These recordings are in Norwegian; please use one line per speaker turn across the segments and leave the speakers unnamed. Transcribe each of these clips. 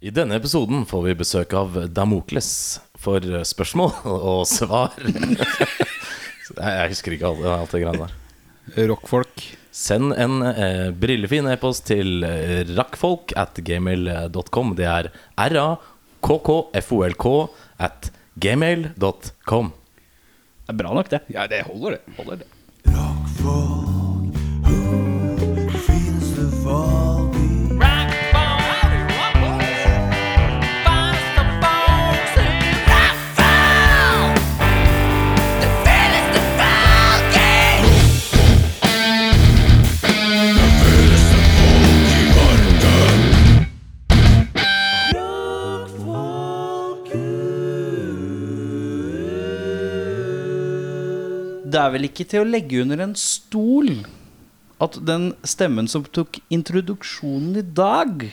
I denne episoden får vi besøk av Damokles for spørsmål og svar. Så Jeg jeg husker ikke alt, alt det greiene der.
Rockfolk.
Send en eh, brillefin e-post til eh, rakkfolk at gmail.com. Det er r-a-k-k-f-o-l-k at gmail.com.
Det er bra nok, det.
Ja, det holder, det. Holder det.
Det er vel ikke til å legge under en stol at den stemmen som tok introduksjonen i dag,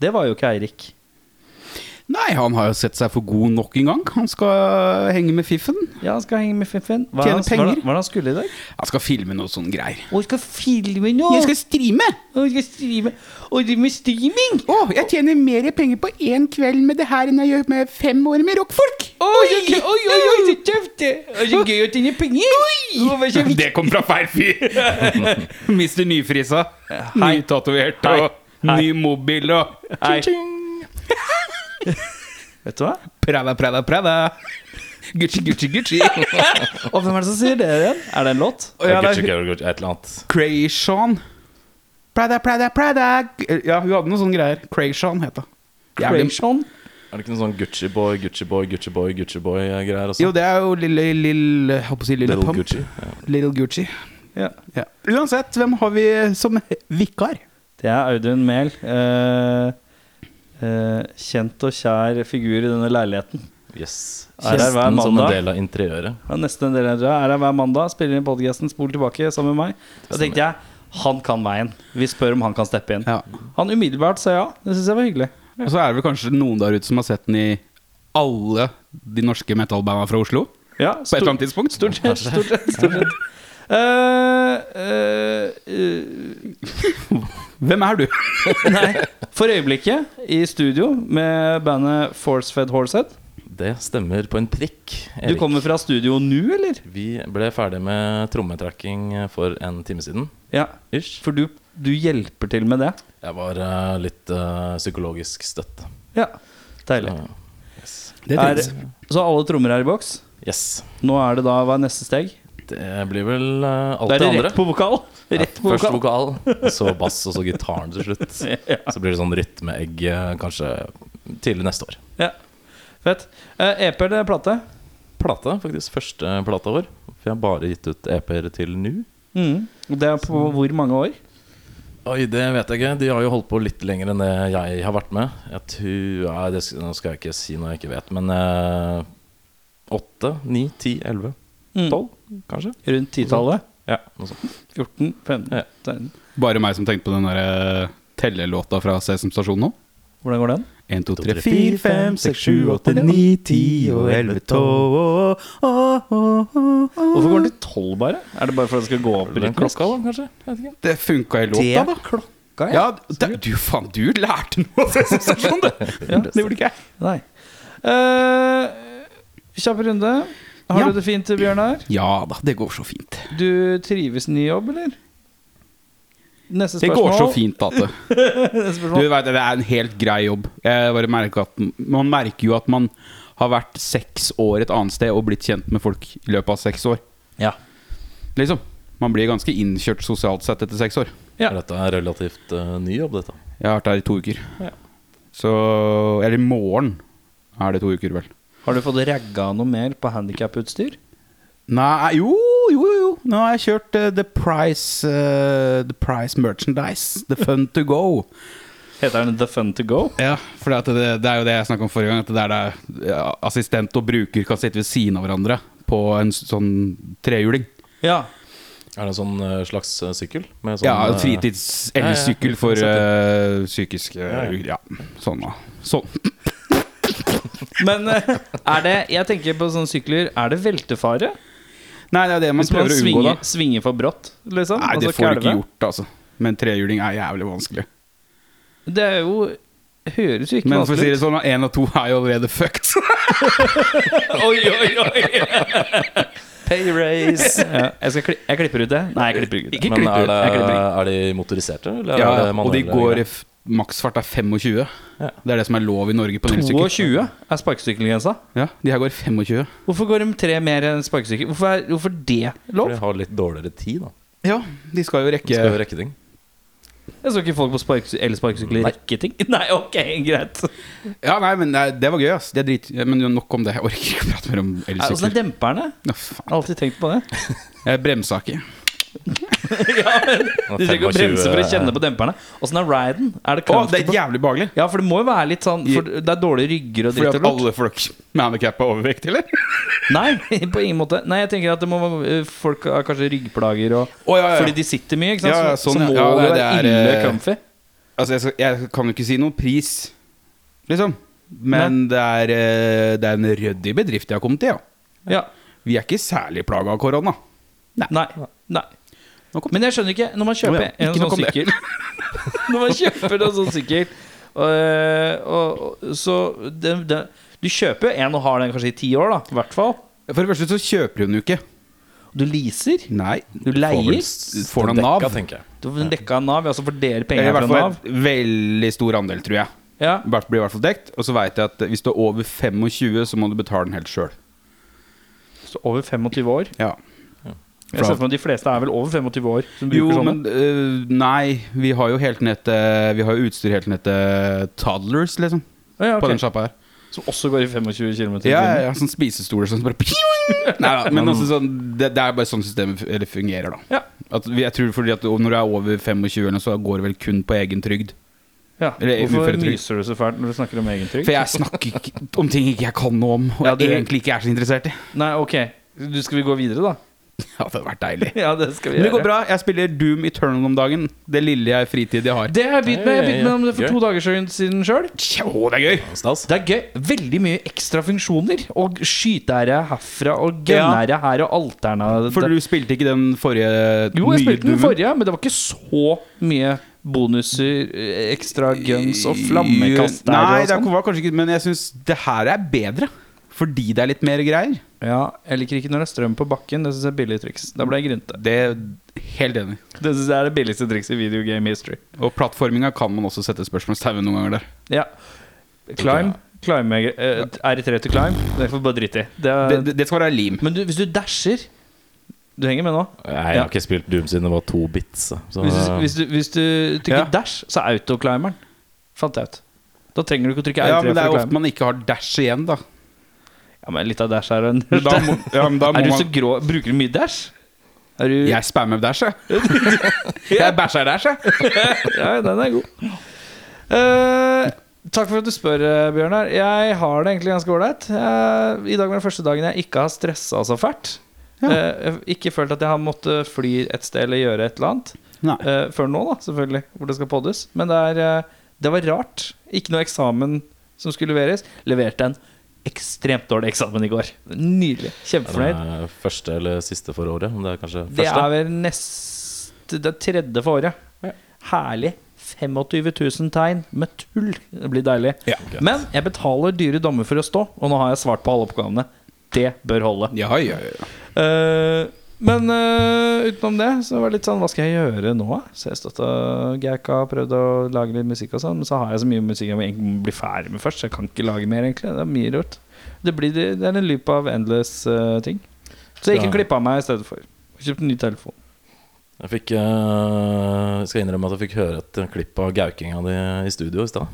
det var jo ikke Eirik.
Nei, han har jo sett seg for god nok en gang. Han skal henge med fiffen.
Ja, han skal henge med Finn-Finn. Hva
Tjene
er det han-
penger.
hva er det han skulle i dag?
Han skal filme noe sånn greier.
Og skal filme nå!
Jeg skal streame!
Og skal streame. Og drive med streaming!
Å, jeg tjener mer penger på én kveld med det her enn jeg gjør med fem år med rockfolk!
Oi, oi, oi, oi, så tøft! det. Og så gøy å tjene penger! Og hva så viktig.
Det kom fra feil fyr! Mister nyfrisa. Nytatovert
Hei.
og ny mobil og
Hei. Vet du hva?
Prada, prada, prada. Gucci, Gucci, Gucci.
Og hvem er det som sier det igjen? Er det en låt?
Og jeg,
Eh, Gucci, Gucci, Gucci, Et eller annet.
Crayshon. Prada, Prada, Prada. Ja, hun hadde noen sånne greier. Crayshon het det. Jævlig-
Creation?
Er det ikke noe sånn Gucci boy, Gucci boy, Gucci boy, eh, altså? Gucci boy-greier også?
Jo, det er jo lille, lille, jeg holdt på å si lille
Little
Pump.
Gucci, ja.
Little Gucci.
Ja.
Ja. Uansett, hvem har vi som vikar?
Det er Audun Mehl. eh, eh, kjent og kjær figur i denne leiligheten.
Yes.
Er det hver
Kjesten som en
mandag?
del av interiøret.
Han er nesten en del av det. Er her hver mandag, spiller inn podkasten, spoler tilbake sammen med meg.
Sånn,
Da tenkte jeg han kan veien. Vi spør om han kan steppe inn.
Ja.
Han umiddelbart sa ja. Det syns jeg var hyggelig.
Og så er det vel kanskje noen der ute som har sett den i alle de norske metalbanda fra Oslo?
Ja,
På et eller annet tidspunkt?
Stort sett. Stort sett, stort sett. Eh, eh, eh,
Hvem er du?
nei. For øyeblikket i studio med bandet Forcefed Horsehead.
Det stemmer på en prikk.
Du
Erik.
kommer fra studio nå, eller?
Vi ble ferdig med trommetrekking for en time siden.
Ja.
Ish.
For du, du hjelper til med det?
Jeg var eh, litt eh, psykologisk støtt. Mm.
Ja. Deilig.
Ja.
Det
Er,
trengs.
så alle trommer er i boks.
Yes.
Nå er det da Hva er neste steg?
Det blir vel eh, alt
Da
det,
er det
andre.
rett på vokal. Rett på
Først
vokal.
vokal, så bass, og så gitaren til slutt. Så blir det sånn rytmeegg eh, kanskje tidlig neste år.
Ja. Fett. Eh, EP eller plate?
Plate, faktisk. Første plata vår. For jeg har bare gitt ut EP-er til nå.
Mm. Det er på hvor mange år?
Oi, det vet jeg ikke. De har jo holdt på litt lenger enn det jeg har vært med. Jeg tror, nei, det, sk- Nå skal jeg ikke si noe jeg ikke vet, men eh, åtte, ni, ti, elleve,
Mm.
tolv, kanskje?
Rundt titallet?
Ja, noe sånt.
14? 15?
Ja.
13.
Bare meg som tenkte på den derre tellelåta fra Sesam Stasjon nå.
Hvordan går den?
1, 2, 3, 4
Fire, fem, seks, sju, åtte, ni, ti og elleve, tolv Hvorfor går den til tolv, bare? Er det bare for at det skal gå opp
Den
rytmisk?
klokka, da, kanskje? Jeg vet ikke.
Det funka i låta, da.
klokka,
Ja, det- du faen, du lærte noe av Sesam Stasjon, du!
Ja.
Det gjorde ikke jeg.
Nei. Eh, kjapp runde. Har
Ja.
du det fint, Bjørnar?
Ja da, det går så fint.
Du trives i ny jobb, eller? Neste
Det
spørsmål.
går så fint, Ate.
Neste
Du
spørsmål.
vet, det, det er en helt grei jobb. Jeg bare merker at Man merker jo at man har vært seks år et annet sted og blitt kjent med folk i løpet av seks år.
Ja.
Liksom. Man blir ganske innkjørt sosialt sett etter seks år.
Ja.
Er Dette er relativt eh, ny jobb, dette.
Jeg har vært her i to uker.
Ja.
Så Eller i morgen er det to uker, vel.
Har du fått ragga noe mer på handikaputstyr?
Nei, jo, jo, jo. Nå har jeg kjørt eh, The Price eh, The Price Merchandise. The Fun to Go.
Heter den The Fun To Go?
Ja, for det, det, det er jo det jeg snakket om forrige gang. At det er der ja, assistent og bruker kan sitte ved siden av hverandre på en s- sånn trehjuling.
Ja.
Er det en sånn eh, slags eh, sykkel? Med sånn,
Ja,
eh,
fritids-elsykkel for eh, psykisk eh, Ja, sånn da. Sånn.
Men eh, er det Jeg tenker på sånne sykler Er det veltefare?
Nei, det er det man
Hvis man
prøver å sånn, unngå, da.
svinger, svinger for brått, liksom?
Nei, det
og så
får du
kalve?
ikke gjort, altså. Men trehjuling er jævlig vanskelig.
Det er jo høres jo ikke
Men for å si
vanskelig
det
ut.
sånn, én av to er jo allerede fucked. oi, oi, oi.
Pay raise. Ja, jeg, skal kli jeg klipper ut det. Nei, jeg klipper ikke ut det.
Ikke
Men er,
klipp ut. Jeg
det,
klipper ikke.
er de motoriserte, eller
Ja,
er det
og de
manuelle
går
greier?
i f- maksfart er 25.
Ja.
Det er det som er lov i Norge på nulsykkel.
22 er sparkesykkelgrensa.
Ja, de her går 25.
Hvorfor går de tre mer enn sparkesykkel? Hvorfor, er- hvorfor det
For
lov?
de har litt dårligere tid, da.
Ja, de skal jo
De
rekke
skal jo rekke ting.
Jeg så ikke folk på sparkesy eller sparkesykler
Nei.
rekke ting. Nei, ok, greit.
Ja, nei, men nei, det var gøy, ass. Det er drit... Men nok om det. Jeg orker ikke å prate mer om
Nei, Åssen
elsykler.
er demperne?
Å, faen.
Jeg har alltid tenkt på det.
Jeg bremsa ikke.
Du trenger ikke
25,
å bremse for å
eh,
kjenne på demperne. Åssen er riden? Er det
Å,
comfortable?
det er jævlig behagelig.
Ja, for det må jo være litt sånn For det er dårlige rygger og
Fordi
dritt
at
og lort.
alle folk med handikap er overvekt, eller?
Nei, på ingen måte. Nei, jeg tenker at det må være- folk har kanskje ryggplager og
Å, ja, ja.
Fordi de sitter mye, ikke sant?
Ja, ja,
så,
sånn,
så
ja. Ja, nei,
må det jo
det
være
er,
ille
eh,
comfy.
Altså, jeg, skal, jeg kan jo ikke si noen pris, liksom. Men det er, eh, det er en ryddig bedrift jeg har kommet til, ja.
Ja.
Vi er ikke særlig plaga av korona.
Nei. nei.
Nå kom-
Men jeg skjønner ikke Når man kjøper
Å, ja.
en
Ikke
sånn
nok om det.
sykkel Når man kjøper en sånn sykkel og, og, og, Så det, det, Du kjøper jo en og har den kanskje i ti år, da. I hvert fall.
For det første så kjøper hun jo ikke.
Du leaser.
Nei.
Du leier.
Får noen
dekka,
nav?
tenker jeg.
Du får dekka av Nav. Altså fordeler
Eller i
penger fra
hvert fall
Nav.
en veldig stor andel, tror jeg.
Ja.
Hvert blir i hvert fall dekt. Og så veit jeg at hvis du er over 25, så må du betale den helt sjøl.
Så over 25 år.
Ja.
Jeg ser for meg at De fleste er vel over 25 år som bruker
Jo,
sånne.
men øh, Nei, vi har jo helt ned til Vi har jo utstyr helt ned til toddlers, liksom.
Å, ja, ok.
På den sjappa her.
Som også går i 25 km
Ja,
i
ja,
timen.
ja, sånn spisestoler som bare Nei da, men altså sånn det, det er bare sånn systemet f- eller fungerer, da.
Ja.
At vi- jeg tror fordi at når du er over 25, eller noe, så går det vel kun på egen trygd.
Ja.
Eller
Hvorfor
uføretrygd.
myser du så fælt når du snakker om egen trygd?
For jeg snakker ikke om ting ikke jeg kan noe om, og
Ja, du-
jeg egentlig ikke er så interessert i.
Nei, ok. Du, skal vi gå videre, da?
Ja, det hadde vært deilig.
Ja, det skal vi
Men det går
gjøre.
bra. Jeg spiller Doom Eternal om dagen. Det lille jeg fritid jeg har.
Det har jeg begynt med. Jeg begynte med om det
Gøy.
for to dager siden- siden sjøl.
Tjå, det er gøy!
Stas.
Det er gøy. Veldig mye ekstra funksjoner. Og skyteære herfra, og gunære her, og alterna
For du spilte ikke den forrige
Jo,
nye
jeg spilte den
Doomen?
forrige, men det var ikke så mye bonuser, eh, ekstra guns og flammekast
Nei,
der.
det
Og sånn.
var kanskje ikke Men jeg syns det her er bedre. Fordi det er litt mer greier.
ja, jeg liker ikke når det er strøm på bakken. Det syns jeg er billig triks. Da ble jeg grinte.
Det Helt enig.
Det syns jeg er det billigste trikset i video game history.
Og plattforminga kan man også sette spørsmålstegn ved noen ganger der.
Ja. Climb. climb eh, R3 til climb. Det får du bare drite i. Det er-
Det, det, det skal være lim.
Men du, hvis du dasher Du henger med nå?
Jeg
Ja.
har ikke spilt Doom siden det var to bits. Så eh,
Hvis du, hvis du, hvis du trykker
Ja.
dash, så er autoclimeren. Fant jeg ut. Da trenger du ikke å trykke R3
Ja, men det er
for å
jo ofte
climbe.
man ikke har dash igjen, da.
Ja, men litt av dash er en
Men da må, ja, men da må
Er du så
man
grå? Bruker du mye dash? Er du
Jeg spammer dash, jeg. Jeg bæsjer dash, jeg.
Ja, den er god. Eh, takk for at du spør, eh, Bjørnar. Jeg har det egentlig ganske ålreit. Eh, I dag var den første dagen jeg ikke har stressa så fælt.
Ja.
Eh, jeg har ikke følt at jeg har måttet fly et sted eller gjøre et eller annet.
Nei.
Eh, før nå, da, selvfølgelig, hvor det skal poddes. Men det, er, eh, det var rart. Ikke noe eksamen som skulle leveres. Leverte en ekstremt dårlig eksamen i går. Nydelig. Kjempefornøyd.
Er det første eller siste for året? Om det er kanskje
Det
første?
er vel neste Det er tredje for året.
Ja.
Herlig. 25 000 tegn med tull. Det blir deilig.
Ja.
Men jeg betaler dyre dommer for å stå, og nå har jeg svart på alle oppgavene. Det bør holde.
Ja, ja, ja.
Eh, men eh, utenom det så var det litt sånn Hva skal jeg gjøre nå? da? Så jeg støtta Gauka og prøvde å lage litt musikk og sånn. Men så har jeg så mye musikk jeg må egentlig bli ferdig med først. Så jeg kan ikke lage mer, egentlig. Det er mye rart. Det, blir, det er en loop av endless eh, ting. Så
Ja.
jeg ikke klippa meg i stedet for. Kjøpte ny telefon.
Jeg fikk, eh, skal innrømme at jeg fikk høre et klipp av gaukinga di i studio i stad.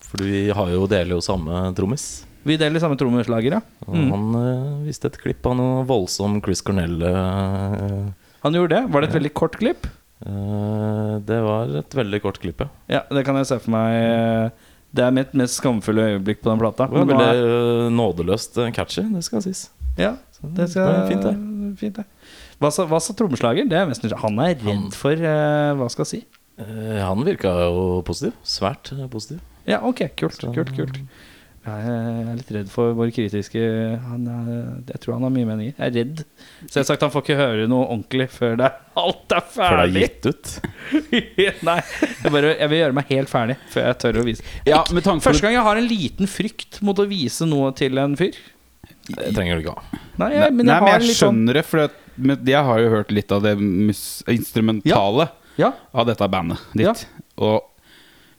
For vi har jo, deler jo samme trommis.
Vi deler samme trommeslager, ja.
Og
Mm.
Han eh, viste et klipp av noe voldsom Chris Cornell. eh,
Han gjorde det. Var det et veldig kort klipp?
eh, det var et veldig kort klipp, ja.
Ja, det kan jeg se for meg. eh, Det er mitt mest skamfulle øyeblikk på den plata.
Det var
Men nå er-
veldig eh, nådeløst eh, catchy, det skal sies.
Ja,
Så
Mm, det skal
er fint, det.
Fint, det. Hva sa, hva sa trommeslager? Det er jeg mest nysgjerrig- Han er redd
Han-
for eh, hva skal jeg si.
Eh, han virka jo positiv. Svært eh, positiv.
Ja, ok, kult, kult, kult. Jeg er litt redd for vår kritiske han er, Jeg tror han har mye meninger. Jeg er redd. Selvsagt, han får ikke høre noe ordentlig før det er, alt er
Før det er
ferdig.
gitt ut.
Nei, jeg, bare, jeg vil gjøre meg helt ferdig før jeg tør å vise.
Ja, med tanke på
Første gang jeg har en liten frykt mot å vise noe til en fyr.
Det trenger du ikke ha.
Nei, jeg,
Nei,
men jeg,
men
har
jeg
litt sånn-
skjønner det, for at- men jeg har jo hørt litt av det mus instrumentale
sånn- Ja,
av dette bandet ditt.
Ja.
Og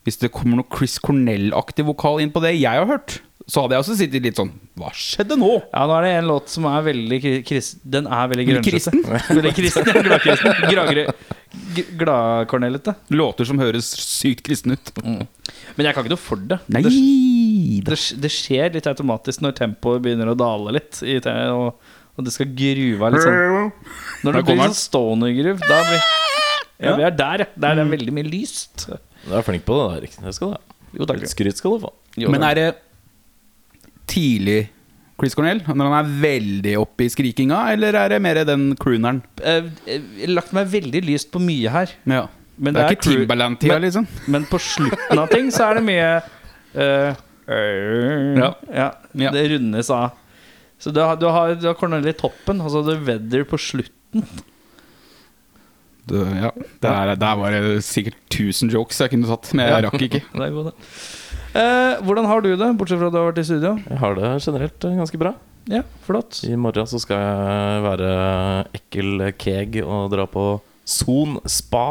hvis det kommer noe Chris Cornell-aktig vokal inn på det jeg har hørt, så hadde jeg også sittet litt sånn Hva skjedde nå?
Ja, nå er det en låt som er veldig kri- kris, Den er veldig
Veldig
grønnete.
kristen.
Veldig kristen, Gladkristen. Gradgrø- g- Gladkornellete.
Låter som høres sykt kristne ut.
Men jeg kan ikke noe for det.
Nei
Mm. Det,
da.
det, det skjer litt automatisk når tempoet begynner å dale litt. I te og, og det skal gruve av litt sånn.
Liksom. Her
Når det blir
kommer
sånn stoner-groove, da blir Ja, vi er der, ja. Der er det veldig mye lyst.
Du er flink på det. der, ikke? Det skal du ha.
Jo takk.
Litt skryt skal du få.
Jo,
Men
takk.
er det tidlig Chris Cornell? Når han er veldig oppe i skrikinga, eller er det mer den crooneren?
Eh, eh, Jeg har lagt meg veldig lyst på mye her.
Ja.
Men
det, er ikke
cru-
Timbaland-tida,
men-
liksom.
Men på slutten av ting så er det mye eh,
Ja. Ja.
Det rundes av. Så du har, du har, du har Cornelia i toppen, og så har du Weather på slutt.
Det, ja. Der, der var det sikkert 1000 jokes jeg kunne tatt, men jeg rakk ikke.
Det er god, det. Eh, hvordan har du det, bortsett fra at du har vært i studio?
Jeg har det generelt eh, ganske bra.
Ja, flott.
I morgen så skal jeg være ekkel keg og dra på Son spa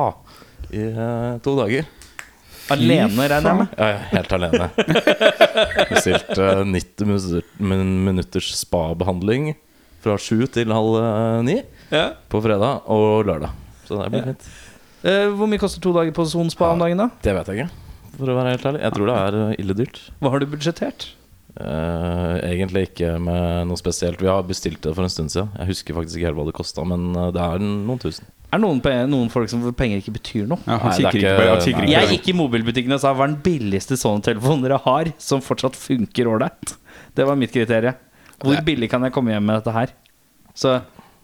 i eh, to dager.
Alene, regner jeg med.
Jeg er helt alene. Bestilt eh, 90 minutter, min, minutters spabehandling fra sju til halv eh, ni
Ja.
på fredag og lørdag. Så det blir fint.
Eh, hvor mye koster to dager på Son spa om dagen, da?
Det vet jeg ikke, for å være helt ærlig. Jeg tror det er eh, ille dyrt.
Hva har du budsjettert?
Eh, egentlig ikke med noe spesielt. Vi har bestilt det for en stund siden. Jeg husker faktisk ikke helt hva det kosta, men eh, det er noen tusen.
Er det noen, pe- noen folk som for penger ikke betyr noe?
Ja,
Nei, det
han
er
kikker ikke
ikke-
på- han kikker
nei.
ikke
Jeg
på det.
gikk i mobilbutikken og sa hva er den billigste Sony-telefonen dere har, som fortsatt funker ålreit. Det var mitt kriterium. Hvor billig kan jeg komme hjem med dette her? Så,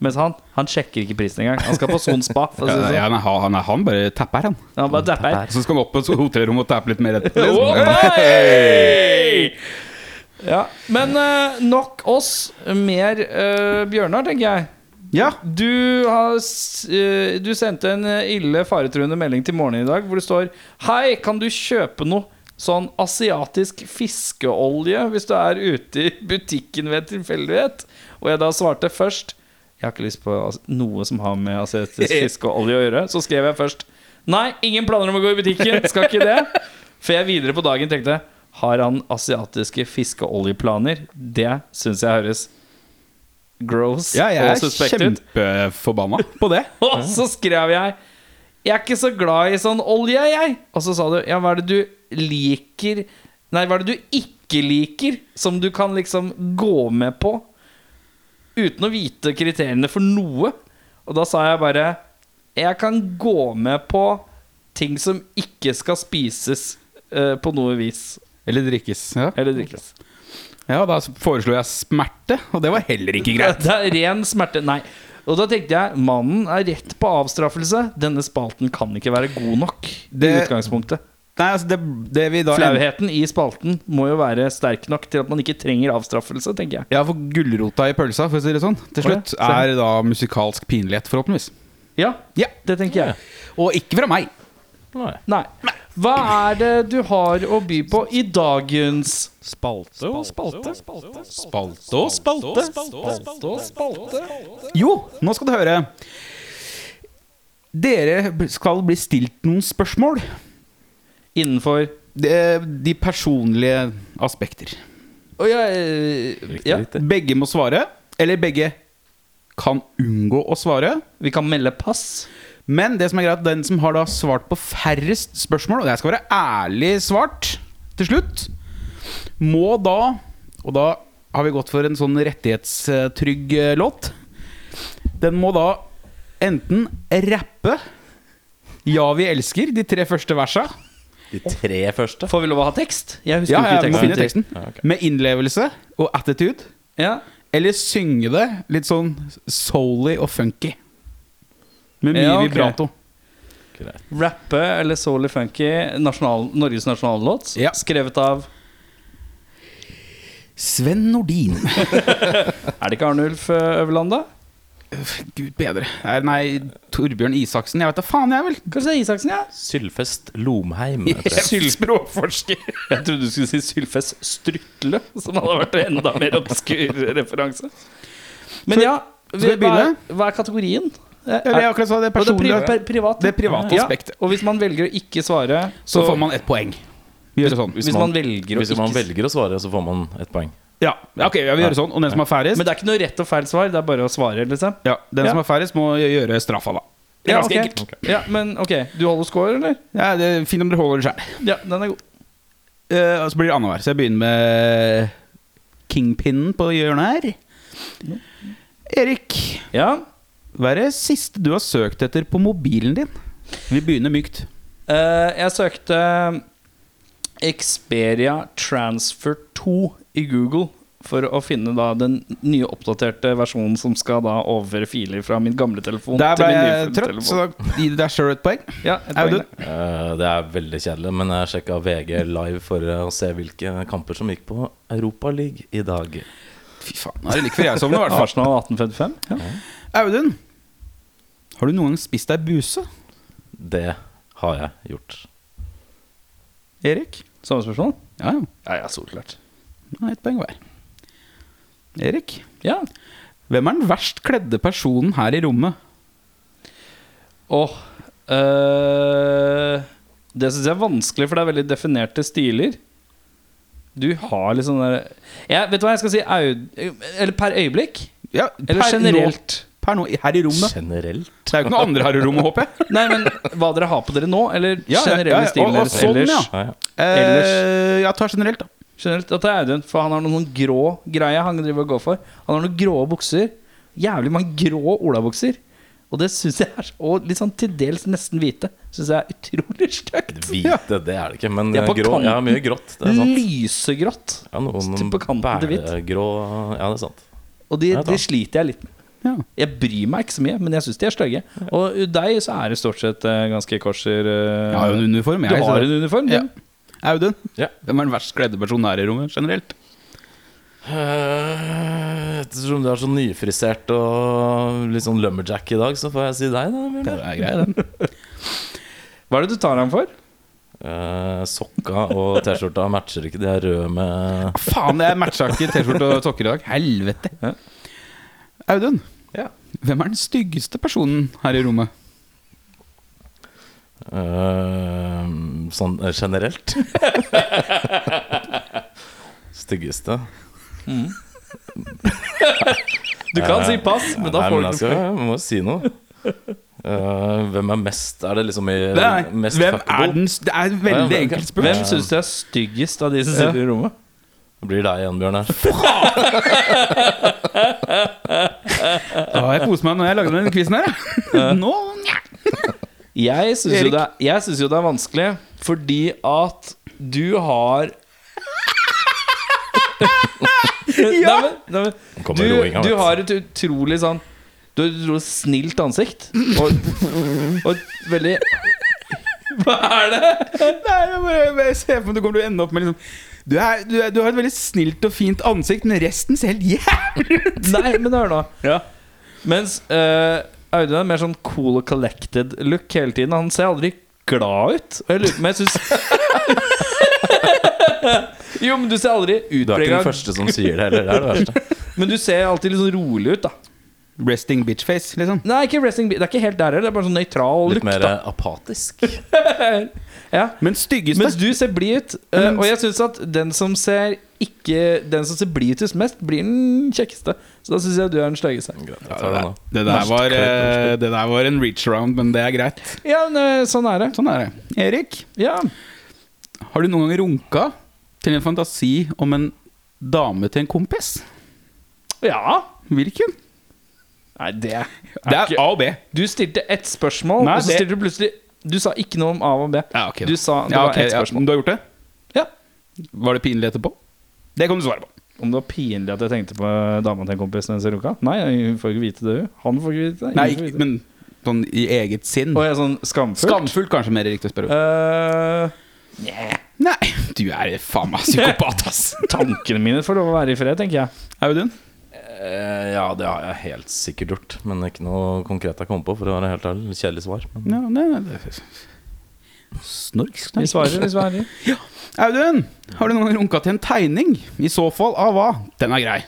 mens han han sjekker ikke prisen engang. Han skal på Son spa. For å si
Ja,
det
ja,
sånn.
nei, han, han- han bare tapper, han.
Han bare dapper.
Så skal han opp på et hotellrom og tappe litt mer etterpå.
Oi! Ja, men eh, nok oss. Mer eh, Bjørnar, tenker jeg.
Ja.
Du, har, s- eh, du sendte en eh, ille faretruende melding til morgenen i dag hvor det står Hei, kan du kjøpe noe sånn asiatisk fiskeolje hvis du er ute i butikken ved tilfeldighet? Og jeg da svarte først Jeg har ikke lyst på as- noe som har med asiatisk fiskeolje å gjøre. Så skrev jeg først Nei, ingen planer om å gå i butikken. Skal ikke det. For jeg videre på dagen tenkte Har han asiatiske fiskeoljeplaner? Det syns jeg høres gross
ja, jeg
og
er
suspekt ut.
kjempeforbanna på det.
Og så skrev jeg Jeg er ikke så glad i sånn olje, jeg. Og så sa du Ja, hva er det du liker Nei, hva er det du ikke liker som du kan liksom gå med på? Uten å vite kriteriene for noe. Og da sa jeg bare Jeg kan gå med på ting som ikke skal spises eh, på noe vis.
Eller drikkes. Ja,
Eller drikkes.
ja da foreslo jeg smerte, og det var heller ikke greit.
Det er ren smerte. Nei. Og da tenkte jeg mannen er rett på avstraffelse. Denne spalten kan ikke være god nok. i
Det-
utgangspunktet
Nei, altså, det, det vi da
Flauheten i spalten må jo være sterk nok til at man ikke trenger avstraffelse, tenker jeg.
Ja, for gulrota i pølsa, for å si det sånn, til
Å ja,
slutt,
ser
er da musikalsk pinlighet, forhåpentligvis.
Ja,
Ja.
det tenker jeg.
Og ikke fra meg.
Nei.
Nei. Hva er det du har å by på i dagens
Spalte og spalte.
Spalte og spalte.
Spalte og spalte.
Jo, nå skal du høre. Dere skal bli stilt noen spørsmål.
innenfor
De, de personlige aspekter.
Å ja, eh, ja.
Begge må svare, eller begge kan unngå å svare.
Vi kan melde pass.
Men det som er greit, den som har da svart på færrest spørsmål, og jeg skal være ærlig svart til slutt, må da Og da har vi gått for en sånn rettighetstrygg eh, låt. Den må da enten rappe 'Ja, vi elsker' de tre første versa.
De tre første?
Får vi lov å ha tekst? Jeg husker
Ja,
jo
jeg
ikke
må finne
teksten.
teksten. Med innlevelse og attitude.
Ja.
Eller synge det litt sånn soully og funky. Med mye
Ja, ok.
vibrato.
Greit.
Rappe eller Solly Funky, nasjonal, Norges nasjonallåt,
Ja.
skrevet av
Sven Nordin.
Er det ikke Arnulf eh, Øverland, da?
Gud bedre. Nei, Nei, Torbjørn Isaksen. Jeg vet da faen, jeg, vel.
Kanskje det er Isaksen, ja?
Sylfest Lomheim. heter det.
Sylspråkforsker. Jeg trodde du skulle si Sylfest Strutle, som hadde vært en enda mer obskur referanse. Men ja,
skal vi
hva er,
begynne?
hva er kategorien?
Eller jeg akkurat sa det
Og det er pri-
personlige.
pri- privat.
Det er private
Ja,
aspektet.
Og hvis man velger å ikke svare,
Så får man ett poeng. Vi gjør det sånn.
Hvis man velger å
Hvis man
ikke
velger å svare, så får man ett poeng.
Ja, ja, ok, ja, vi gjør det sånn. Og den som er færrest,
Men det er ikke noe rett og feil svar, det er bare å svare, liksom?
ja, den
Ja.
som er færrest må gjøre straffa, da. Det er ganske
ok.
enkelt.
Ja, men ok, du holder score, eller?
Ja, det er Fint om dere holder det sjøl.
Ja, den er god.
Og så blir det annenhver. Så jeg begynner med eh, kingpinnen på hjørnet her. Erik,
Ja.
hva er det siste du har søkt etter på mobilen din? Vi begynner mykt.
Eh, jeg søkte Experia Transfer 2 i Google for å finne da den nye oppdaterte versjonen som skal da overføre filer fra min gamle telefon
Der ble
til min
jeg
nye
trøtt, så
telefon.
da gir du deg sjøl et poeng.
Ja, et poeng
Audun?
der.
Eh, Det er veldig kjedelig, men jeg sjekka VG live for eh, å se hvilke kamper som gikk på Europaligaen i dag.
Fy faen, nå er det like før jeg sovner, i hvert fall.
Arsenal 1855. Ja.
Audun, har du noen gang spist deg buse?
Det har jeg gjort.
Erik?
Samme spørsmål?
Ja, ja.
Ja, ja, solklart.
Ja, Ett poeng hver. Erik,
Ja.
hvem er den verst kledde personen her i rommet?
Og eh, Det syns jeg er vanskelig, for det er veldig definerte stiler. Du har liksom der jeg, Vet du hva jeg skal si? Aud... Eller per øyeblikk?
Ja,
Eller
per
generelt?
Nå, per nå, her i rommet.
Generelt.
Det er jo ikke noe andre her i rommet, håper jeg.
Nei, men hva dere har på dere nå, eller
Ja, ja,
generelle
ja, ja.
stilen
Og- og
deres
sånn,
ellers?
ja.
Ja, ja.
Eh, jeg tar generelt, da.
Generelt, da tar jeg Audun, for han har noen sånn grå greier han driver og går for. Han har noen grå bukser. Jævlig mange grå olabukser. Og det synes jeg er Og litt sånn til dels nesten hvite. Syns jeg er utrolig stygt.
Hvite, det er det ikke, men
Det er på
grå, ja,
kanten.
mye grått. Det er sant.
Lysegrått.
Ja, noen
Stygt på kanten til hvitt.
bæregrå Ja, det er sant.
Og de,
Ja, da.
de sliter jeg litt med.
Ja.
Jeg bryr meg ikke så mye, men jeg syns de er stygge. Og u- deg så er det stort sett eh, ganske korser. eh,
Jeg har jo en uniform.
du
Jeg,
har en uniform?
Ja.
du.
Audun,
Ja.
hvem er den verst kledde personen her i rommet generelt?
Eh, Ettersom du er så nyfrisert og litt sånn lumberjack i dag, så får jeg si deg, da. Bjørnar.
er greit, den.
Hva er det du tar ham for?
Eh, sokka og T-skjorta matcher ikke. De er røde med
Faen, jeg matcha ikke T-skjorte og sokker i dag. Helvete.
Ja.
Audun,
Ja.
hvem er den styggeste personen her i rommet?
eh, sånn eh, generelt. Styggeste.
Du kan si pass, men da
Nei,
får
men
du
altså, jeg må jo si noe. Eh, hvem er mest Er det liksom i
Det er,
mest
hvem
fuckable?
er den st- Det er et
Ja,
veldig
men-
enkelt spørsmål.
Hvem syns du er styggest av de som sitter i rommet?
Blir deg igjen, Bjørnar.
Ja, jeg koser meg når jeg lagde denne quizen her. jeg. Nå nja.
Jeg syns jo,
Erik.
det er- jeg synes jo det er vanskelig, fordi at du har Nei, men, nei, men,
Nå kommer
du,
roinga,
du
vet
har et utrolig sånn Du har et utrolig snilt ansikt. Og, og et veldig Hva er det?
Nei, jeg bare jeg ser for meg at du kommer til å ende opp med liksom du, er, du, er, du har et veldig snilt og fint ansikt, men resten ser helt jævlig ut!
Nei, men hør nå.
Ja.
Mens eh, Audun er mer sånn cool og collected look hele tiden. Han ser aldri glad ut. Og jeg lurer på om jeg syns Jo, men du ser aldri
Du er ikke den
utprega
første som sier det heller. Det er det verste.
Men du ser alltid litt sånn rolig ut, da.
Resting bitchface, liksom.
Nei, ikke wrestling, det er ikke helt der heller. Det er bare sånn nøytral
Litt
look.
mer
da.
eh, apatisk.
Ja.
Men styggeste
Mens du ser blid ut. eh, og jeg syns at den som ser ikke Den som ser blid ut mest, blir den kjekkeste. Så da syns jeg du er den styggeste.
Greit, jeg tar den nå.
det, der var, eh, det der var en reach around, men det er greit.
Ja, men, eh, sånn er det.
Sånn er det. Erik,
Ja.
har du noen gang runka til en fantasi om en dame til en kompis?
ja.
Hvilken?
Nei, det er
Det er
ikke-
A og B.
Du stilte ett spørsmål,
Nei,
og så
det-
stilte du plutselig Du sa ikke noe om A og B.
Ja, ok, da.
Du sa det
Ja,
var
ok,
ett
ja.
spørsmål.
Du har gjort det?
Ja.
Var det pinlig etterpå? Det kan du svare på.
Om det var pinlig at jeg tenkte på eh, dama til en kompis når jeg ser Luka? Nei, hun får ikke vite det, hun. Han får ikke vite det.
Nei,
ingen
ikke,
får vite det.
men sånn i eget sinn.
Og jeg er sånn skamfull.
Skamfullt, kanskje mer riktig å spørre.
Eh,
Nei, du er faen meg psykopat, ass.
Tankene mine får lov å være i fred, tenker jeg.
Audun?
Eh, ja, det har jeg helt sikkert gjort, men det er ikke noe konkret jeg kom på. For å være helt ærlig, Kjedelig svar. Men
Ja, nei, nei, det... Snork,
Vi
snork.
svarer, vi svarer.
Audun, har du noen gang runka til en tegning? I så fall av hva? Den er grei.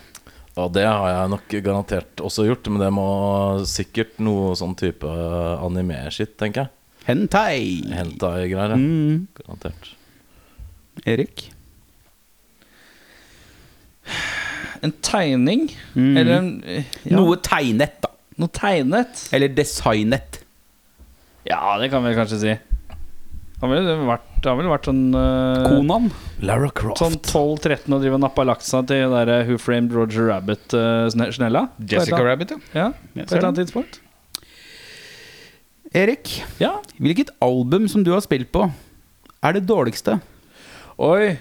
Og det har jeg nok garantert også gjort, men det må sikkert noe sånn type anime-shit, tenker jeg.
Hentai.
Hentai-greier. ja.
Mm.
Garantert.
Erik?
En tegning, eller en, eh, ja,
Noe tegnet, da.
noe tegnet.
Eller designet.
Ja, det kan vi kanskje si. Han ville vært, han ville vært sånn eh,
Konan.
Lara Croft.
Sånn 12-13 og drive og nappe laksa til den der Who Framed Roger Rabbit eh, sne- snella. På et eller annet-
Rabbit, ja.
Ja, på
Jeg
et
ser
eller annet tidspunkt.
Erik,
Ja.
hvilket album som du har spilt på, er det dårligste?
Oi.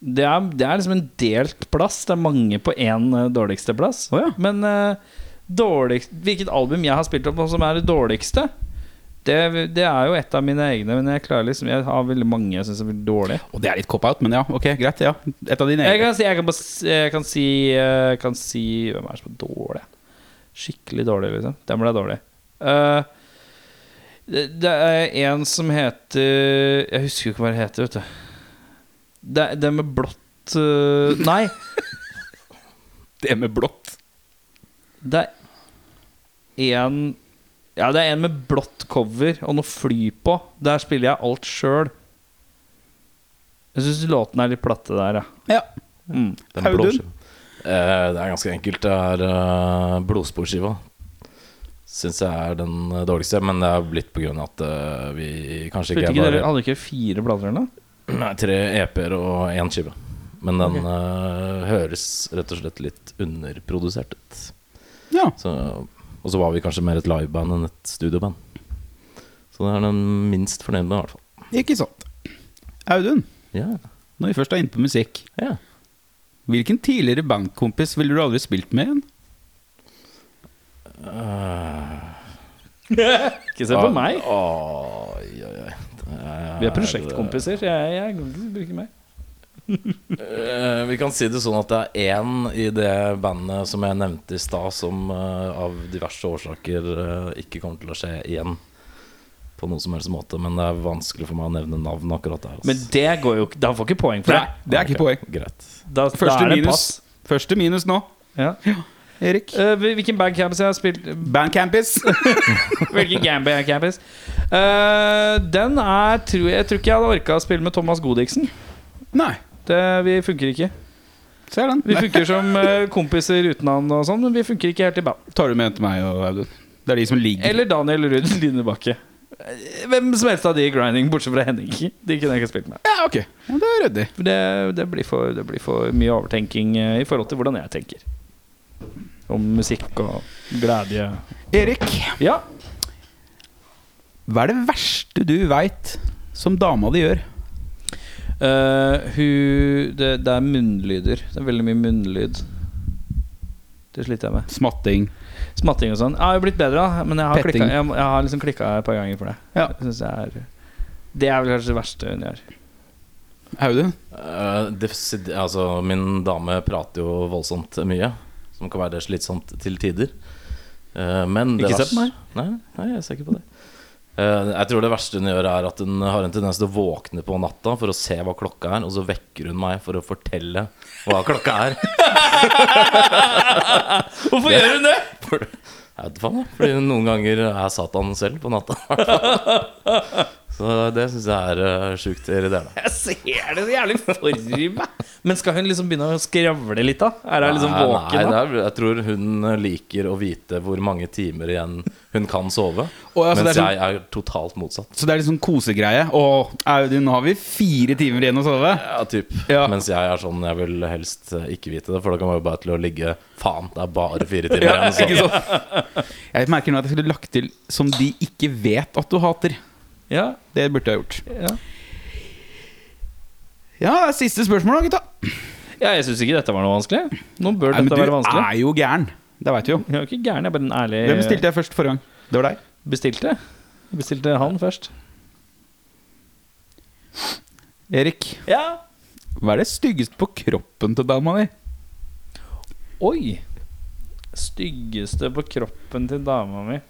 Det er, det er liksom en delt plass. Det er mange på én eh, dårligste plass.
Å ja.
Men eh, dårligst, hvilket album jeg har spilt opp på som er det dårligste, det, det er jo et av mine egne. Men jeg klarer liksom Jeg har veldig mange jeg syns er veldig dårlige.
Og det er litt cop-out, men ja, ok, greit. ja Et av dine
Jeg
egne.
kan si, jeg kan bare, s- jeg kan si, eh, kan si Hvem er det som er dårlig? Skikkelig dårlig, liksom. Den ble dårlig. Eh, det, det er en som heter Jeg husker jo ikke hva det heter, vet du. Det, det med blått eh, Nei,
Det med blått.
det er en Ja, det er en med blått cover og noe fly på. Der spiller jeg alt sjøl. Jeg syns låten er litt platte der, ja.
Ja.
Mm.
Den blå
Audun?
skiva. Eh, det er ganske enkelt. Det er eh, blodsporskiva. Syns jeg er den eh, dårligste, men det er blitt på grunn av at eh, vi kanskje
Spilte
ikke
ikke
er
dere,
bare
hadde ikke fire blader eller noe?
Nei, tre EP-er og én skive. Men den eh, høres rett og slett litt underprodusert ut.
ja.
Så, og så var vi kanskje mer et liveband enn et studioband. Så det er den minst fornøyde, i hvert fall.
Ikke sant. Audun,
Ja,
når vi først er inne på musikk,
ja.
hvilken tidligere bandkompis ville du aldri spilt med igjen?
Ikke se på
Ah,
meg.
Oi, oi, oi. Det
Vi er prosjektkompiser. Jeg, jeg bruker meg.
Eh, vi kan si det sånn at det er én i det bandet som jeg nevnte i stad, som eh, av diverse årsaker eh, ikke kommer til å skje igjen på noen som helst måte. Men det er vanskelig for meg å nevne navn akkurat der. altså.
Men det går jo ikke Da får ikke poeng for
Nei,
det.
det er ikke poeng.
Greit.
Da, da
Første
er det
minus.
pass.
Første minus nå.
Ja.
Erik.
Eh, hvil- hvilken bandcampus jeg har spilt
Bandcampus.
Hvilken bandcampus? Uh, den er tror jeg, jeg tror ikke jeg hadde orka å spille med Thomas Godiksen.
Nei,
Det, vi funker ikke.
ser den.
Vi funker som eh, kompiser uten han og sånn, men vi funker ikke helt i band.
Tar du med en til meg og Audun? Det er de som ligger
Eller Daniel Ruud Linebakke. Eh, Hvem som helst av de i grinding, bortsett fra Henning. De kunne jeg ikke spilt med.
Ja, ok. Ja, det er ryddig.
For Det, det, blir for, det blir for mye overtenking eh, i forhold til hvordan jeg tenker. Om musikk og glede.
Erik,
Ja.
hva er det verste du veit som dama di gjør?
Eh, hun det, det er munnlyder. Det er veldig mye munnlyd. Det sliter jeg med.
Smatting.
Smatting og sånn. Jeg har jo blitt bedre, da, men jeg har,
Petting.
klikka, jeg, jeg har liksom klikka et par ganger for det.
Ja.
Jeg synes det, er, det er vel kanskje det verste hun gjør.
Audun?
Eh, desid- altså, min dame prater jo voldsomt mye, som kan være slitsomt til tider. Eh, men det
Ikke se
vers-
på meg.
Nei, nei, jeg ser ikke på det. Eh, jeg tror det verste hun gjør, er at hun har en tendens til å våkne på natta for å se hva klokka er, og så vekker hun meg for å fortelle hva klokka er.
Hvorfor gjør hun det?
For, jeg vet faen, jeg. Fordi hun noen ganger er Satan selv på natta. Så det syns jeg er eh, sjukt irriterende.
Jeg ser det så jævlig for meg. Men skal hun liksom begynne å skravle litt, da? Er hun liksom
Nei,
våken?
Nei, det
da?
er, jeg tror hun eh, liker å vite hvor mange timer igjen hun kan sove.
Å, ja, så det
mens
er sånn-
jeg er totalt motsatt.
Så det er litt sånn kosegreie. Å, Audun, nå har vi fire timer igjen å sove.
Ja, typ.
Ja.
Mens jeg er sånn, jeg vil helst eh, ikke vite det, for da kan man jo bare til å ligge Faen, det er bare fire timer igjen. Så.
Ikke sant? Jeg merker nå at jeg skulle lagt til 'som de ikke vet at du hater'.
Ja,
Det burde jeg gjort.
ja.
Ja, siste spørsmål, da, gutta.
ja jeg syns ikke dette var noe vanskelig. Nå bør
Nei, men
dette
du
være vanskelig. Eh.
er jo gæren. Det veit du jo.
Jeg er jo ikke gæren, jeg er bare en ærlig
Hvem bestilte jeg først forrige gang? Det var deg.
Bestilte? Jeg Bestilte han først.
Erik,
Ja.
hva er det styggeste på kroppen til dama di?
Oi! Styggeste på kroppen til dama mi.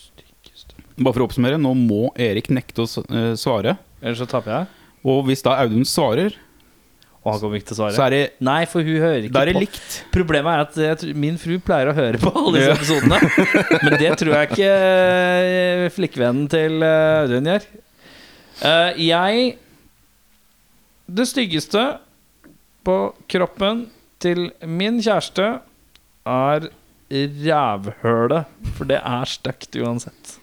Styggeste
Bare for å oppsummere, nå må Erik nekte å s- eh, svare.
Ellers så taper jeg.
Og hvis da Audun svarer,
Og han kommer ikke til å svare.
så er det,
Nei, for hun hører ikke
da er det
på.
likt.
Problemet er at jeg tror, min fru pleier å høre på alle disse
Ja.
episodene. Men det tror jeg ikke eh, flikkvennen til eh, Audun gjør. Eh, jeg Det styggeste på kroppen til min kjæreste er rævhølet. For det er stygt uansett.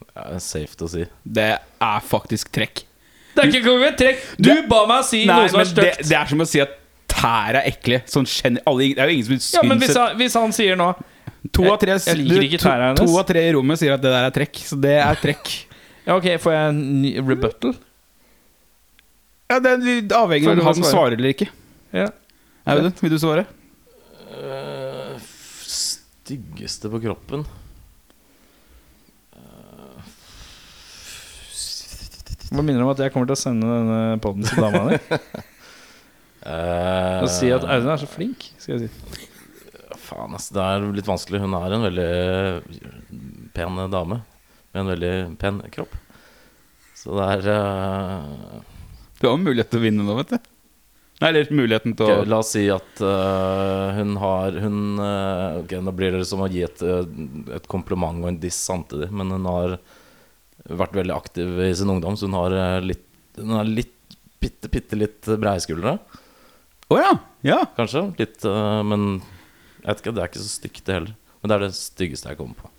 Det er safe å si.
Det er faktisk trekk.
Det er ikke konge! Trekk! Du ba meg si noe som er
det,
stygt.
det er som å si at tær er ekle. Sånn gener- alle, det er jo ingen som
Ja, men
syns
hvis
et-
han, hvis han sier nå
to, av tre,
Jeg liker ikke
to,
tæra hennes.
to av tre i rommet sier at det der er trekk, så det er trekk.
Ja, OK, får jeg en ny rebuttal?
Ja, Det er litt avhengig
Får
av
du
om han
svare?
svarer eller ikke.
Ja.
Audun, vil du svare?
Eh, f- styggeste på kroppen
Må minne om at jeg kommer til å sende denne poden til dama di.
Eh,
Og si at Audun er så flink. Skal jeg si.
Faen, ass. Det er litt vanskelig. Hun er en veldig eh, pen dame med en veldig pen kropp. Så det er eh,
Du har jo mulighet til å vinne nå, vet du. Nei, eller muligheten til å
ok, La oss si at eh, hun har Hun eh, Ok, nå blir det som å gi et, eh, et kompliment og en diss samtidig, men hun har vært veldig aktiv i sin ungdom, så hun har eh, litt Hun har litt bitte, bitte litt breie skuldre,
Å ja! Ja!
kanskje. Litt eh, Men jeg vet ikke, det er ikke så stygt, det heller. Men det er det styggeste jeg kommer på.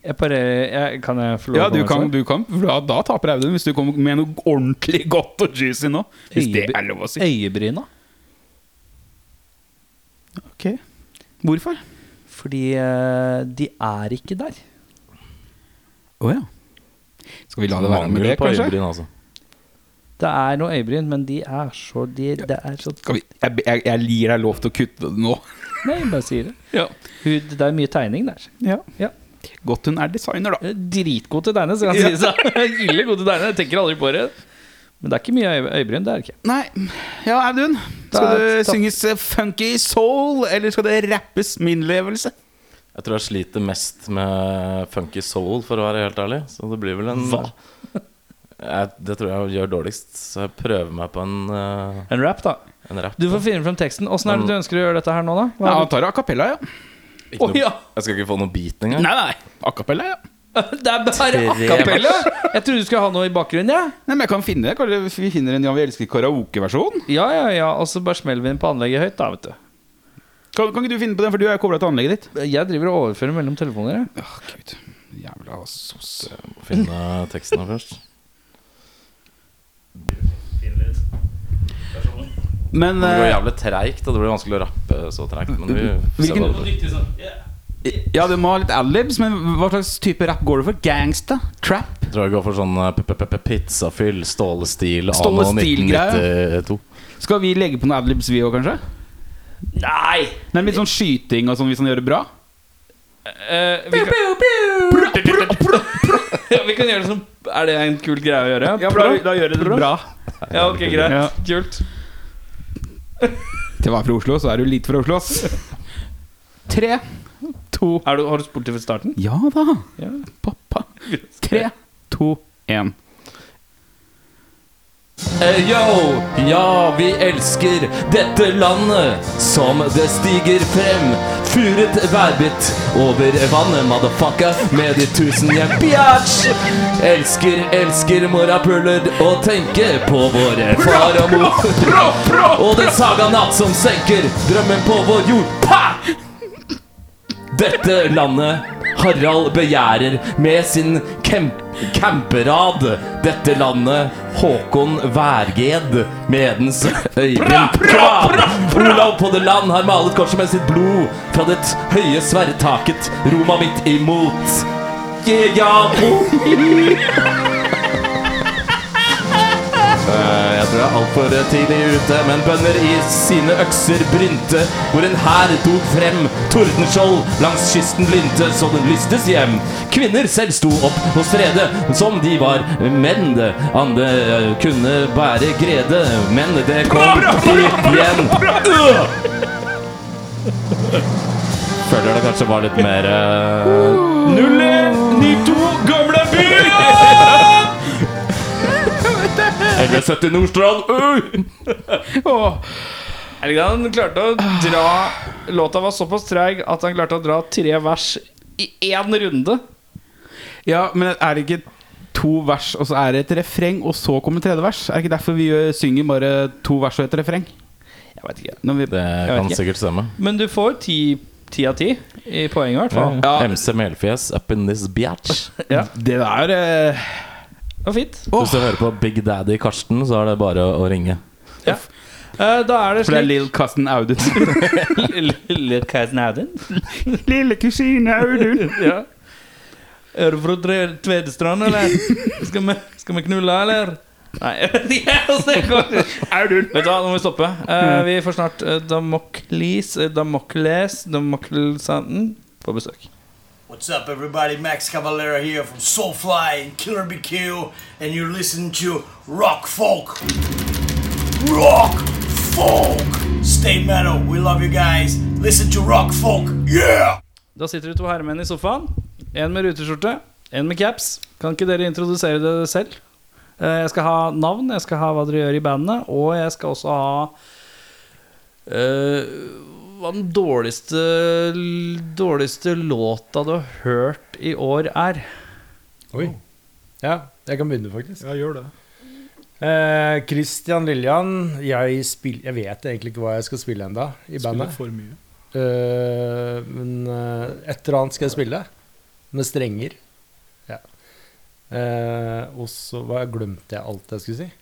Jeg parerer jeg, Kan jeg få lov
ja
å
du,
komme
kan,
med et
du kan for da, da taper Audun, hvis du kommer med noe ordentlig godt og juicy nå. Hvis det er lov å
svar?
si.
Øyebryna.
Ok. Hvorfor?
Fordi eh, de er ikke der.
Å ja. Skal vi la det være med
Mangel
det,
på
kanskje?
øyebryn, altså.
Det er noe øyebryn, men de er så de, Det er så
Skal vi, jeg, jeg, jeg gir deg lov til å kutte det nå.
Nei, jeg bare sier det.
Ja.
Hun, det er mye tegning der. Ja.
Godt hun er designer, da.
Hun er Dritgod til å tegne, skal jeg si. Så. Ille god til å tegne. Jeg tenker aldri på det. Men det er ikke mye øye, øyebryn. Det er det ikke.
Nei, ja, Audun.
Da-
Skal det
da-
synges eh, funky soul, eller skal det rappes min levelse?
Jeg tror jeg sliter mest med funky soul, for å være helt ærlig. Så det blir vel en
Hva?
Jeg, det tror jeg gjør dårligst, så jeg prøver meg på en, eh,
En rap, da.
en rap.
Du får finne frem teksten. Åssen
Mm.
er det du ønsker å gjøre dette her nå, da? Hva
Ja,
er
han
det-
tar a cappella, ja.
Ikke noe-
Å, ja.
Jeg skal ikke få noe beat engang.
Nei, nei. A cappella, ja.
Det er bare a cappella! Jeg trodde du skulle ha noe i bakgrunnen, jeg.
Nei, men jeg kan finne det. Kanskje vi finner en Ja, vi elsker karaokeversjon?
Ja, ja, ja, og så bare smeller vi den på anlegget høyt, da, vet du.
Kan, kan ikke du finne på den, for du er jo kobla til anlegget ditt?
Jeg driver og overfører mellom telefoner, jeg.
Åh, gud. Jævla sos.
Jeg må finne tekstene først.
Men
Det går
eh,
jævlig treigt, og det blir vanskelig å rappe så treigt. Men vi får se
Hvilken-
hva det blir.
Ja, du må ha litt adlibs, men hva slags type rap går du for? Gangsta? Trap?
Jeg tror jeg går for sånn eh, p- p- p- pizzafyll, stålestil,
Ståle
anno
Stil-greie.
1992.
Skal vi legge på noen adlibs, vi òg, kanskje?
Nei!
Nei, men Litt sånn skyting og sånn, hvis han gjør det bra?
Eh, vi, kan, ja, vi kan gjøre det som Er det en kul greie å gjøre?
Ja, for da, da gjør det bra.
Ja, ok, greit.
Ja.
Kult.
Til å være fra Oslo, så er du lite fra Oslo, ass. Tre, to
Er du, har du spurt til starten?
Ja da,
Ja.
pappa. Tre, to, én.
Eh, Yo, ja, vi elsker dette landet som det stiger frem. Furet værbitt over vannet, motherfucker, med de tusen hjem. Biatch! Elsker, elsker morapuler og tenker på våre far og mor. Og den saga natt som senker drømmen på vår jord. Pa! Dette landet Harald begjærer med sin kem camperad. Dette landet Håkon Værged med dens øyebrynkran. Olav på det land har malet korset med sitt blod fra det høye sverdtaket Roma mitt imot. Yeah, ja, bo. Eh, Jeg tror det er altfor for tidlig ute, men bønder i sine økser brynte, hvor en hær tok frem tordenskjold langs kysten blindte, så den lystes hjem. Kvinner selv sto opp og strede, som de var menn. det Ande eh, kunne bære grede, men det kom igjen. Øh! Føler det kanskje var litt mer uh, 092 gamle byen! Eller 70 E Nordstrand. øh!
Er det ikke det? Han klarte å dra Låta var såpass treig at han klarte å dra tre vers i én runde.
Ja, men er det ikke to vers, og så er det et refreng, og så kommer tredje vers? Er det ikke derfor vi gjør- synger bare to vers og et refreng?
Jeg vet ikke
Når vi,
Det
Jeg vet
Eh, kan
ikke.
sikkert stemme.
Men du får ti ti av ti i poeng, i hvert fall.
Ja.
MC Melfjes up in this biatch.
Ja.
det der eh,
Det var fint.
Hvis du hører på Big Daddy Karsten, så er det bare å, å ringe.
Eh, Da er det
For det er
slik
Lill Cousin Audun.
Lille Kaisen Audun.
Lille kusine Audun.
Ja. Er du fra Tre- Tvedestrand, eller? Skal vi, skal vi knulle, eller? Nei jeg vet ikke, altså, jeg kan- Vet du hva, nå må vi stoppe. Eh, vi får snart uh, Damoklis eh, Damokles Damoklesanden på besøk.
What's up, everybody? Max Cavalera here from Soulfly and Killer BQ, and you're listening to Rock Folk. Rock Folk! Stay metal, we love you guys. Listen to Rock Folk, yeah!
Da sitter det to herremenn i sofaen. En med ruteskjorte, en med caps. Kan ikke dere introdusere dere selv? Eh, Jeg skal ha navn, jeg skal ha hva dere gjør i bandet, og jeg skal også ha eh, hva den dårligste, dårligste låta du har hørt i år er.
Oi. Ja, jeg kan begynne, faktisk. Ja, gjør det. Eh, Christian Lillian, jeg, spill, jeg vet egentlig ikke hva jeg skal spille enda i bandet.
for mye.
Eh, men eh, et eller annet skal jeg spille. Med strenger. Ja. Eh, og så hva- glemte jeg alt jeg skulle si.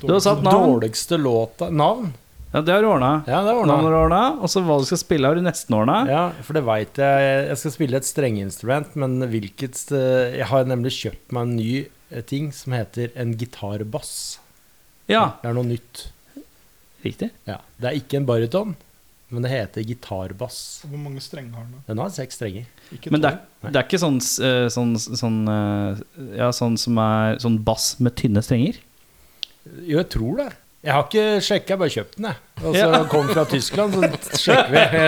Du har satt navn.
Dårligste låta Navn?
Ja, det har du ordna.
Ja, det ordna
Navnet har du ordna, og så hva du skal spille, har du nesten ordna.
Ja, for det veit jeg. Jeg skal spille et strengeinstrument, men hvilket eh, Jeg har nemlig kjøpt meg en ny eh, ting som heter en gitarbass.
Ja,
Det er noe nytt.
riktig.
Ja. Det er ikke en baryton, men det heter gitarbass.
Hvor mange strenger har den? da?
Den har seks strenger.
Ikke
Men det er,
tolv?
det er ikke sånn, s- eh, sånn, sånn, eh, ja, sånn som er sånn bass med tynne strenger?
Jo, jeg tror det. Jeg har ikke sjekka, jeg bare kjøpt den, jeg. Og så
Ja.
kom fra Tyskland, så sjekker vi.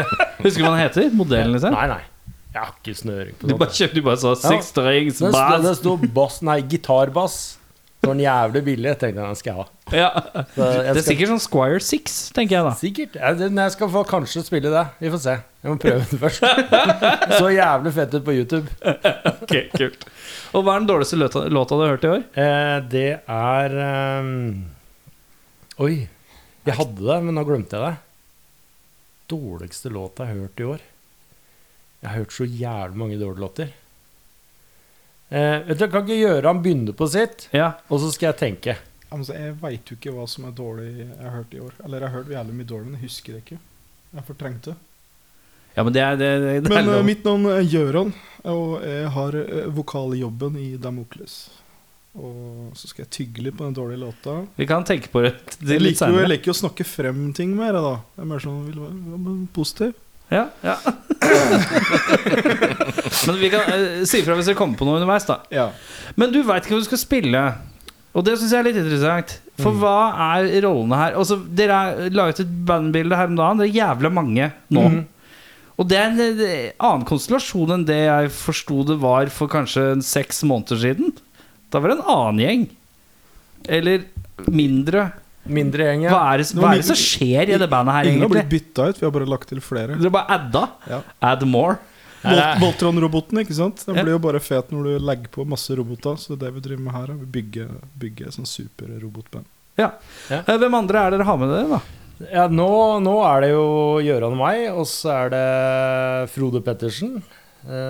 Husker du hva den heter? Modellen, liksom?
Nei, nei. Jeg har ikke snøring på
Du
sånt.
bare kjøpte du bare så seks strings
Den sto,
bass.
det sto bass, nei, gitarbass. Det var en jævlig billig. Jeg tenkte den skal jeg ha.
Ja.
Så jeg
Det er
skal-
sikkert sånn Squire 6, tenker jeg da.
Sikkert. Ja, det- men Jeg skal få kanskje spille det. Vi får se. Jeg må prøve det først. Så jævlig fett ut på YouTube.
Ok, kult Og hva er den dårligste låta, låta du har hørt i år?
Eh, det er ehm, Oi. Jeg hadde det, men nå glemte jeg det. Dårligste låta jeg har hørt i år. Jeg har hørt så jævlig mange dårlige låter. Eh, vet du, jeg Kan ikke Gøran begynne på sitt,
Ja,
og så skal jeg tenke?
Ja, men så Altså, jeg veit jo ikke hva som er dårlig jeg har hørt i år. Eller jeg har hørt jævlig mye dårlig, men jeg husker det ikke. Jeg har fortrengt det.
ja men det er, det, det, det er
Men eh,
lov.
mitt navn er Gjøran, og jeg har eh, vokaljobben i Damokles. Og så skal jeg tygge litt på den dårlige låta.
Vi kan tenke på det t-
Jeg
litt
liker jo jeg
senere
liker jo å snakke frem ting mer, jeg, da. Jeg er mer sånn vil være være positiv.
ja, ja. Men vi kan eh, si fra hvis vi kommer på noe underveis da
Ja.
Men du veit ikke hva du skal spille. Og det syns jeg er litt interessant. For hva er rollene her? Altså, dere er- la ut et bandbilde her om dagen. Det er jævla mange nå. Og det er en eh, annen konstellasjon enn det jeg forsto det var for kanskje en seks måneder siden. Da var det en annen gjeng. Eller mindre.
Mindre gjeng,
Hva
ja.
er det,
Nå,
hva
men-
er det som skjer i det bandet her,
Ingen har blitt
egentlig?
bytta ut, vi har bare lagt til flere.
Dere bare adda?
Ja.
Add more?
Volt- Voltron-roboten, ikke sant? Den
Ja.
blir jo bare fet når du legger på masse roboter. Så det vi driver med her, er å bygge, bygge sånn superrobotband.
Ja.
Ja.
Eh, Hvem andre er dere har med dere, da?
ja nå, nå er det jo Gøran og meg, og så er det Frode Pettersen.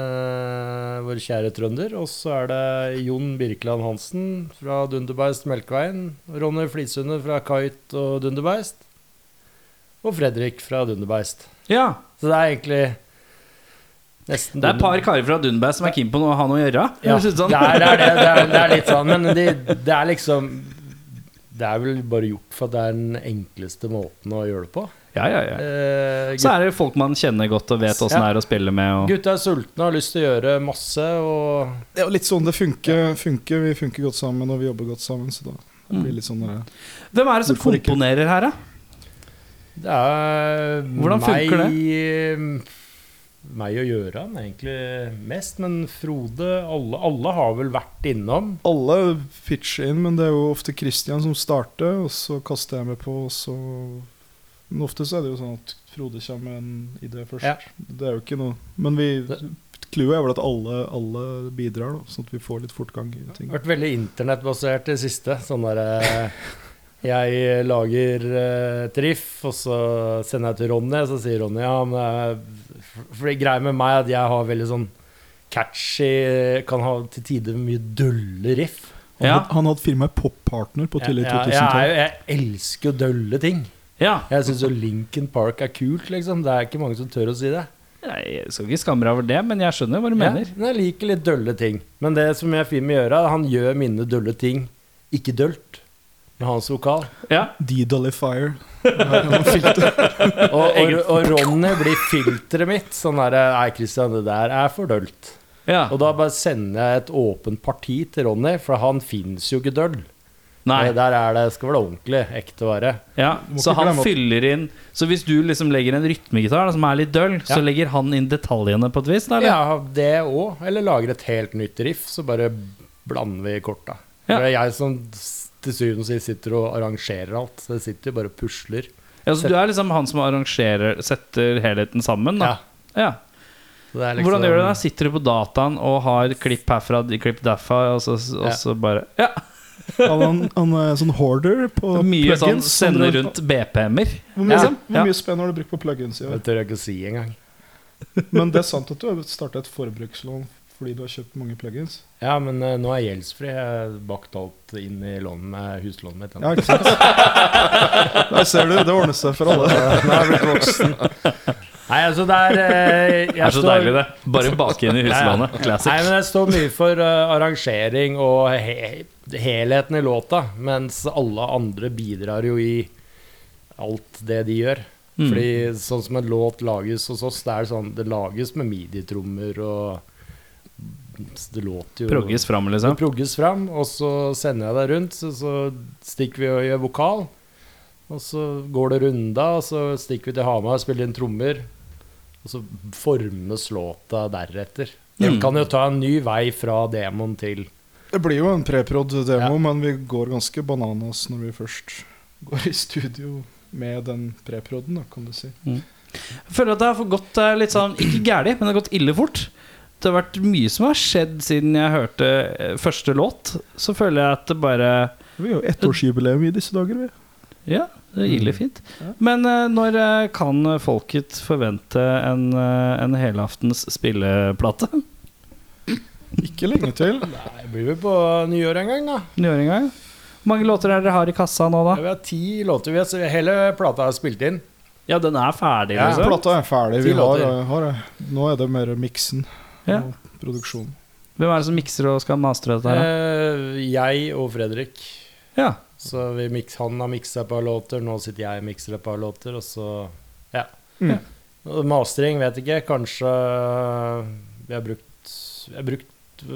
Eh, vår kjære trønder. Og så er det Jon Birkeland Hansen fra Dunderbeist Melkeveien. Ronny Flisundet fra Kite og Dunderbeist. Og Fredrik fra Dunderbeist.
Ja.
Så det er egentlig nesten
Det er et par
Dunder-
karer fra Dunbass som er keen på noe, å ha noe å gjøre.
Ja,
Høres ut
det
sånn.
er, det, er, det, det, er, det er litt sånn, men de, det er liksom Det er vel bare gjort for at det er den enkleste måten å gjøre det på.
Ja, ja, ja.
Eh,
Så er det folk man kjenner godt og vet åssen
Ja.
det er å spille med. Og
Gutta er sultne og har lyst til å gjøre masse, og
Det er jo litt sånn det funker. funker. Vi funker godt sammen, og vi jobber godt sammen. Så da blir det litt sånn der.
Hvem er det som
Hvorfor ikke?
komponerer her, da?
det er
Hvordan funker
meg, meg og Gjøran egentlig mest, men Frode alle, alle har vel vært innom.
Alle pitcher inn, men det er jo ofte Christian som starter, og så kaster jeg meg på, og så Men ofte så er det jo sånn at Frode kommer med en idé først.
Ja.
Det er jo ikke noe Men vi
Det-
Clouet er vel at alle, alle bidrar, da, sånn at vi får litt fortgang i ting.
Vært veldig internettbasert det siste. Sånn derre Jeg lager eh, et riff, og så sender jeg til Ronny, og så sier Ronny ja, men det er- For det greia med meg er at jeg har veldig sånn catchy Kan ha til tider mye dulle riff.
Han,
Ja.
had- han hadde firmaet Poppartner på tidlig
jeg, jeg, er
2000-tall.
jo- jeg elsker å dølle ting.
Ja.
Jeg syns jo Lincoln Park er kult, liksom. Det er ikke mange som tør å si det.
Nei, Jeg skal ikke skamme deg over det, men jeg skjønner hva du mener.
Ja, men jeg liker litt dølle ting. Men det som jeg finner med å gjøre, er at han gjør mine dølle ting ikke dølt med hans vokal.
Ja.
Dedalifier. Filter.
Og, og, og Ronny blir filteret mitt. Sånn der, Nei, Christian, det der er for dølt.
ja.
Og da bare sender jeg et åpent parti til Ronny, for han fins jo ikke døll.
Nei.
Eh, Der er det, skal være ordentlig, ekte vare.
Ja.
må
Så
ikke
han
glemme at-
fyller inn Så hvis du liksom legger en rytmegitar da, som er litt døll, så
Ja.
legger han inn detaljene på et vis? Da, eller?
Ja, det òg. Eller lager et helt nytt riff, så bare blander vi korta.
Ja.
For Det er jeg som s- til syvende og sist sitter og arrangerer alt. Så jeg sitter jo bare og pusler.
Ja, så du er liksom han som arrangerer Setter helheten sammen, da?
Ja,
Ja.
så det er liksom-
Hvordan gjør du det? da? Sitter du på dataen og har klipp herfra, klipp derfra, og så, og
Ja.
så bare Ja!
Han, han er sånn hoarder på
Mye
plugins.
sånn
Han
sende
drev-
rundt BPM-er.
Hvor mye,
liksom.
hvor
Ja.
mye spenn har du brukt på plugins i år?
Det tør jeg ikke å si engang.
Men det er sant at du har starta et forbrukslån fordi du har kjøpt mange plugins.
Ja, men eh, nå er jeg gjeldsfri. Jeg har bakt alt inn i lånet med huslånet mitt.
Ja, ikke sant? Der ser du, det ordner seg for alle.
Nå er jeg blitt voksen. Nei, altså det er eh, jeg
Det er så
står-
deilig, det. Bare bake inn i huslånet.
Nei,
Classic.
men jeg står mye for eh, arrangering og he helheten i låta, mens alle andre bidrar jo i alt det de gjør.
Mm.
Fordi sånn som en låt lages hos oss, det er sånn, det lages med midi-trommer og Det låter jo
Progges fram,
Det
liksom.
progges fram, og så sender jeg deg rundt, så, så stikker vi og gjør vokal. Og så går det runda, og så stikker vi til Hamar og spiller inn trommer. Og så formes låta deretter. Den kan jo ta en ny vei fra demon til
Det blir jo en
Ja.
preprod-demo, men vi går ganske bananas når vi først går i studio med den preproden, da, kan du si.
Jeg føler at det har gått eh, litt sånn Ikke gærlig, men det har gått ille fort. Det har vært mye som har skjedd siden jeg hørte eh, første låt. Så føler jeg at det bare
Vi har jo ettårsjubileum i disse dager, vi.
Ja, det er ille fint.
Ja.
Men eh, når eh, kan folket forvente en, eh, en helaftens spilleplate?
Ikke lenge til.
Nei, blir vi på nyår en gang, da.
Nyåringa? ja. Hvor mange låter er det dere har i kassa nå, da?
Vi har ti låter. Vi har, så hele plata er spilt inn.
Ja, den er ferdig,
Ja.
liksom.
Plata er ferdig.
Ti
Vi har,
låter.
har det. Nå er det mer miksen
Ja.
og produksjonen.
Hvem er det som mikser og skal mastre dette? her? da?
Eh, jeg og Fredrik.
Ja.
Så vi mix, han har miksa et par låter, nå sitter jeg og mikser et par låter, og så Ja.
Mm.
Ja. Og Mastering vet ikke. Kanskje Vi har brukt, vi har brukt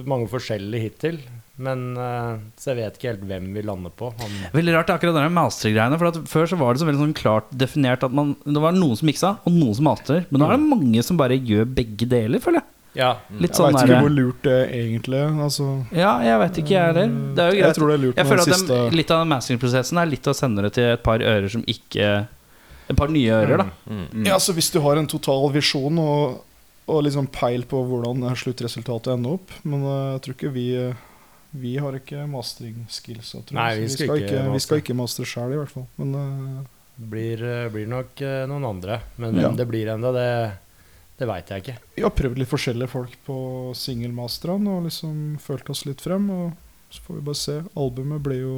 mange forskjellige hittil. Men eh, så jeg vet ikke helt hvem vi lander på. Han,
Veldig rart akkurat det der mastergreiene. For at før så var det så veldig sånn klart definert at man, det var noen som miksa, og noen som master. Men nå er det mange som bare gjør begge deler, føler jeg.
ja.
Litt
Mm. Jeg
sånn
veit ikke hvor
der,
lurt det er egentlig altså,
Ja, jeg vet ikke, jeg heller. Det er jo
Jeg
greit.
tror det er lurt
Jeg
med
føler
den
at
siste
den, litt av den mastering-prosessen er litt å sende det til et par ører som ikke Et par nye
Mm.
ører, da.
Mm.
Ja, så hvis du har en total visjon og, og liksom peil på hvordan eh, sluttresultatet ender opp Men eh, jeg tror ikke vi eh, Vi har ikke mastering skills. Jeg tror.
Nei,
Så
vi skal ikke
Vi skal
mastre.
ikke mastre sjøl, i hvert fall. Men eh,
Blir, eh, blir nok eh, noen andre. Men
Ja.
hvem det blir ennå, det, det veit jeg ikke.
vi har prøvd litt forskjellige folk på singelmasterne og liksom følt oss litt frem. Og så får vi bare se. Albumet blir jo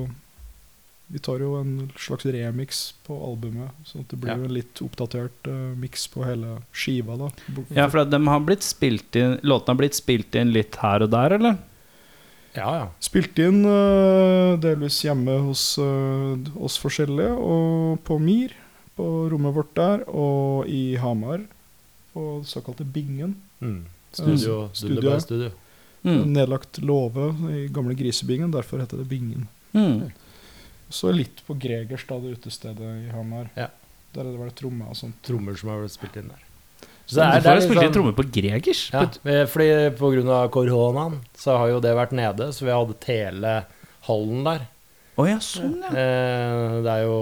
Vi tar jo en slags remix på albumet, sånn at det blir
Ja.
jo en litt oppdatert uh, miks på hele skiva, da.
Ja, for at de har blitt spilt inn, låtene har blitt spilt inn litt her og der, eller?
Ja, ja.
Spilte inn eh, delvis hjemme hos eh, oss forskjellige, og på Mir, på rommet vårt der, og i Hamar, på den såkalte Bingen.
Mm. Studio.
Studio.
Studio. Studio.
Mm.
Mm.
En Nedlagt låve i gamle Grisebingen, derfor heter det Bingen.
Mm.
Så litt på Gregers, da, det utestedet i Hamar.
Ja.
Der er det vært tromme og sånt.
Trommer som har blitt spilt inn der. Så
Hvorfor har jeg
litt
spilt inn
liksom-
sånn-
trommer på Gregers?
Ja, eh, fordi på grunn av koronaen så har jo det vært nede, så vi har hatt hele hallen der.
Å ja, sånn, ja.
Eh, Det er jo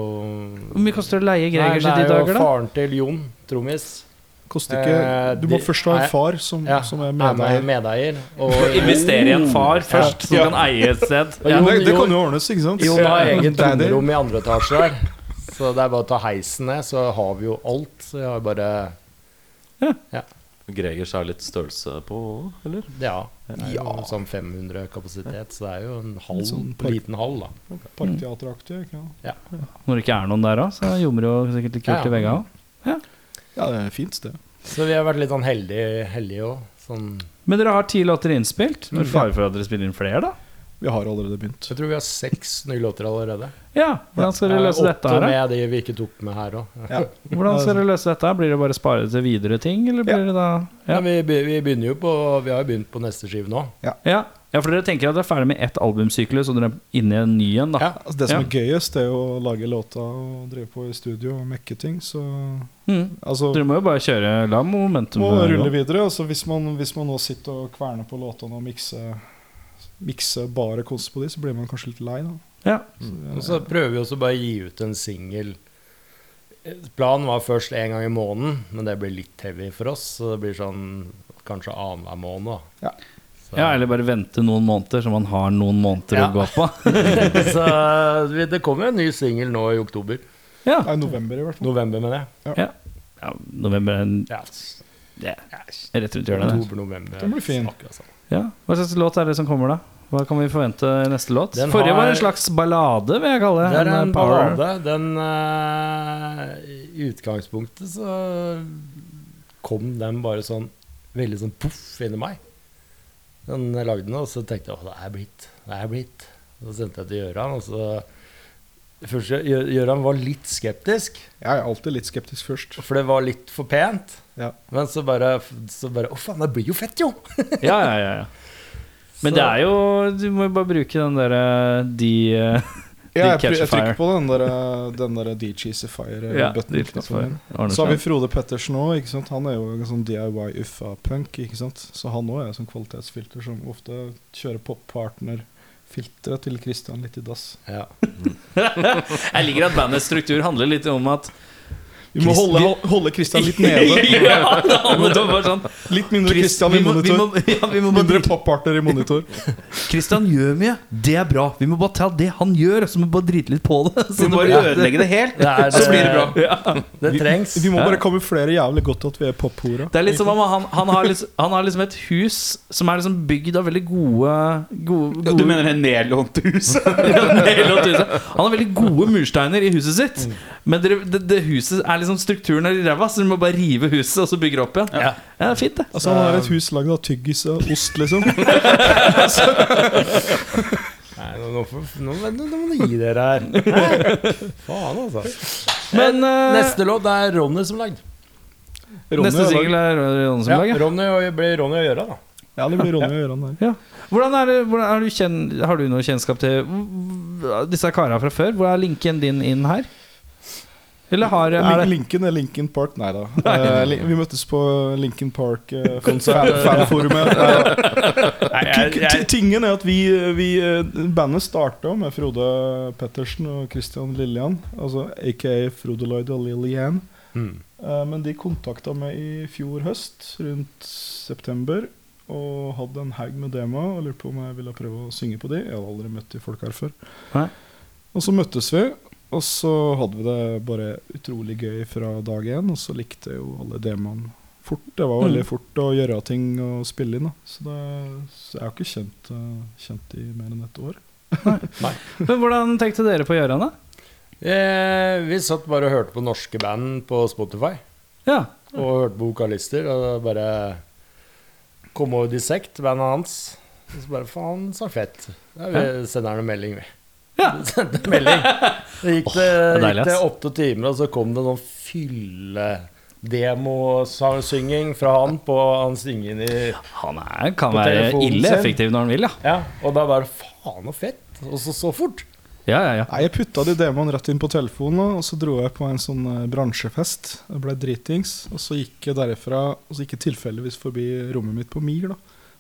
Hvor mye koster det å leie Gregers i
Nei,
de dager,
Det er
da?
jo faren til Jon, trommis.
Koster ikke
Eh,
Du må
de-
først ha
nei,
en far som,
Ja,
som er
er med
medeier.
medeier. Og
Investere i en far først, som kan eie et sted.
Ja,
Jon-
det, det
Jon-
kan jo ordnes, ikke sant?
Jon har eget
Det er det.
trommerom i andre etasje der. Så det er bare å ta heisen ned, så har vi jo alt. Så jeg har bare
Gregers er litt størrelse på eller?
Ja. Det er jo sånn 500 kapasitet, så det er jo en hall,
Sånn park-
liten hall, da.
Parkteateraktig. ikke sant?
Når det ikke er noen der òg, så jommer det jo sikkert litt kult
Ja.
i veggene òg.
Ja, det er et fint sted.
Så vi har vært litt sånn heldige heldige òg. Sånn,
Men dere har ti låter innspilt. Når fare for at dere spiller inn flere, da?
Vi har allerede begynt.
jeg tror vi har seks nye låter allerede.
Ja, Hvordan skal dere
Eh,
løse dette
åtte
her? da?
med de vi ikke tok med her òg.
Hvordan skal dere løse dette? her? Blir det bare spare til videre ting, eller blir det da
Ja.
Ja.
vi, be- vi begynner jo på Vi har jo begynt på neste skive nå.
Ja, ja for dere tenker at dere er ferdig med ett albumsyklus, og dere er inne i en ny en, da.
Ja.
Altså, det som
Ja.
er gøyest, er jo å lage låta og drive på i studio og mekke ting. Så
Mm.
altså
Dere må jo bare kjøre la momentum.
må
her nå.
rulle videre. Altså, hvis, man, hvis man nå sitter og kverner på låtene og mikser mikse bare kost på de, så blir man kanskje litt lei, da.
Ja.
Og så prøver vi også bare å gi ut en singel. Planen var først én gang i måneden, men det blir litt heavy for oss. Så det blir sånn kanskje annenhver måned, da.
Ja.
Så,
ja, eller bare vente noen måneder, så man har noen måneder å
Ja.
gå på.
så vi, det kommer jo en ny singel nå i oktober.
Ja.
Nei, november i hvert fall.
November, mener jeg.
ja november er en-
Ja.
det er rett rundt hjørnet. der.
Oktober, november.
Den blir fin.
Akkurat sånn.
Ja. Hva slags låt er det som kommer, da? Hva kan vi forvente i neste låt?
Den
Forrige var
har-
en slags ballade, vil jeg kalle det.
Det er
eh,
en
power.
ballade. Den eh, I utgangspunktet så kom den bare sånn veldig sånn poff inni meg. Den jeg lagde den, og så tenkte jeg at det her blir hit. Det her blir hit. Så sendte jeg til Gøran, og så Først, Gjø- Gøran var litt skeptisk,
Jeg er alltid litt skeptisk først.
for det var litt for pent.
Ja.
Men så bare så bare, Å, faen, det blir jo fett, jo!
Ja, ja, ja, ja. Men
Så-
det er jo Du må jo bare bruke den derre De eh,
Ja, jeg, pr- jeg
Catchifier.
trykker på den der, eh, den der de-cheesifier-button.
ja, de for- ordner
Så har vi
seg.
Frode Pettersen òg. ikke sant? Han er jo en sånn DIY-uffa-punk. ikke sant? Så han òg er en sånn kvalitetsfilter som ofte kjører pop-partner-filteret til Christian litt i dass.
Ja.
Jeg liker at bandets struktur handler litt om at
Vi må holde, holde Christian litt nede.
Ja, det handler om bare sånn
Litt mindre
Chris-
Christian
vi
i
må- vi
monitor.
må- ja, vi må bare
Mindre pop-partner i monitor.
Kristian gjør mye, det er bra. Vi må bare ta det han gjør, og så må vi bare drite litt på det. Så må bare ødelegge det helt,
Det er,
så blir det bra.
Det trengs.
Vi må bare kamuflere jævlig godt at vi er pop-hora.
Det er litt som om han, han, har liksom, han har liksom et hus som er liksom bygd av veldig gode, gode, gode
det nedlånte huset?
Ja, nedlånt huset. Han har veldig gode mursteiner i huset sitt, men det, det, det huset er liksom strukturen er i ræva, så du må bare rive huset og så bygge det opp igjen.
Ja.
Ja, det er fint, det.
Altså, han har et hus lagd av tyggis og ost, liksom.
Nei, nå, nå, får- nå, nå, nå må du gi dere her. Nei, Faen, altså.
Men eh,
Neste låt det er Ronny som lagde.
Ronny
neste
har
singel er Ronny som
Ja,
lager.
Ronny og blir Ronny og Gjøra, da.
Ja, det blir Ronny og Gøran der.
Hvordan er det, hvordan er du kjenn, har du noe kjennskap til v- disse karene fra før? Hvor er linken din inn her? Eller har er
Lin-
det,
Lincoln er Lincoln Park, nei da. Eh, Lin- vi møttes på Lincoln Park eh, fan- fanforumet. K- k- t- Tingen er at vi, vi eh, Bandet starta med Frode Pettersen og Christian Lillian, altså aka Frode Lloyd og Lillian. Eh, Men de kontakta meg i fjor høst, rundt september, og hadde en haug med dema og lurte på om jeg ville prøve å synge på de. Jeg hadde aldri møtt de folka her før.
Nei.
Og så møttes vi, og så hadde vi det bare utrolig gøy fra dag én, og så likte jo alle demaene fort. Det var veldig fort å gjøre ting og spille inn, da. Så, det, så jeg har ikke kjent, eh, kjent de mer enn et år.
men hvordan tenkte dere på Gjøran, da?
Eh, vi satt bare og hørte på norske band på Spotify.
Ja.
Og hørte på vokalister. Og det bare kom over Dissect, bandet hans. Og så bare faen, sang fett. Ja, vi sender han en melding, vi.
Ja.
Vi sendte en melding. Så gikk det,
det er deilig,
gikk det
ass.
åtte timer, og så kom det noen fylledemosynging fra han på Han synger inn i
Han er, kan
På
være
telefonen
ille
selv.
effektiv når han vil, ja.
Ja, og da bare faen så fett. Og så så fort.
Ja, ja, ja.
Nei, Jeg putta de demoene rett inn på telefonen, da, og så dro jeg på en sånn eh, bransjefest. Jeg ble dritings, og så gikk jeg derifra Og så gikk jeg tilfeldigvis forbi rommet mitt på Mir. da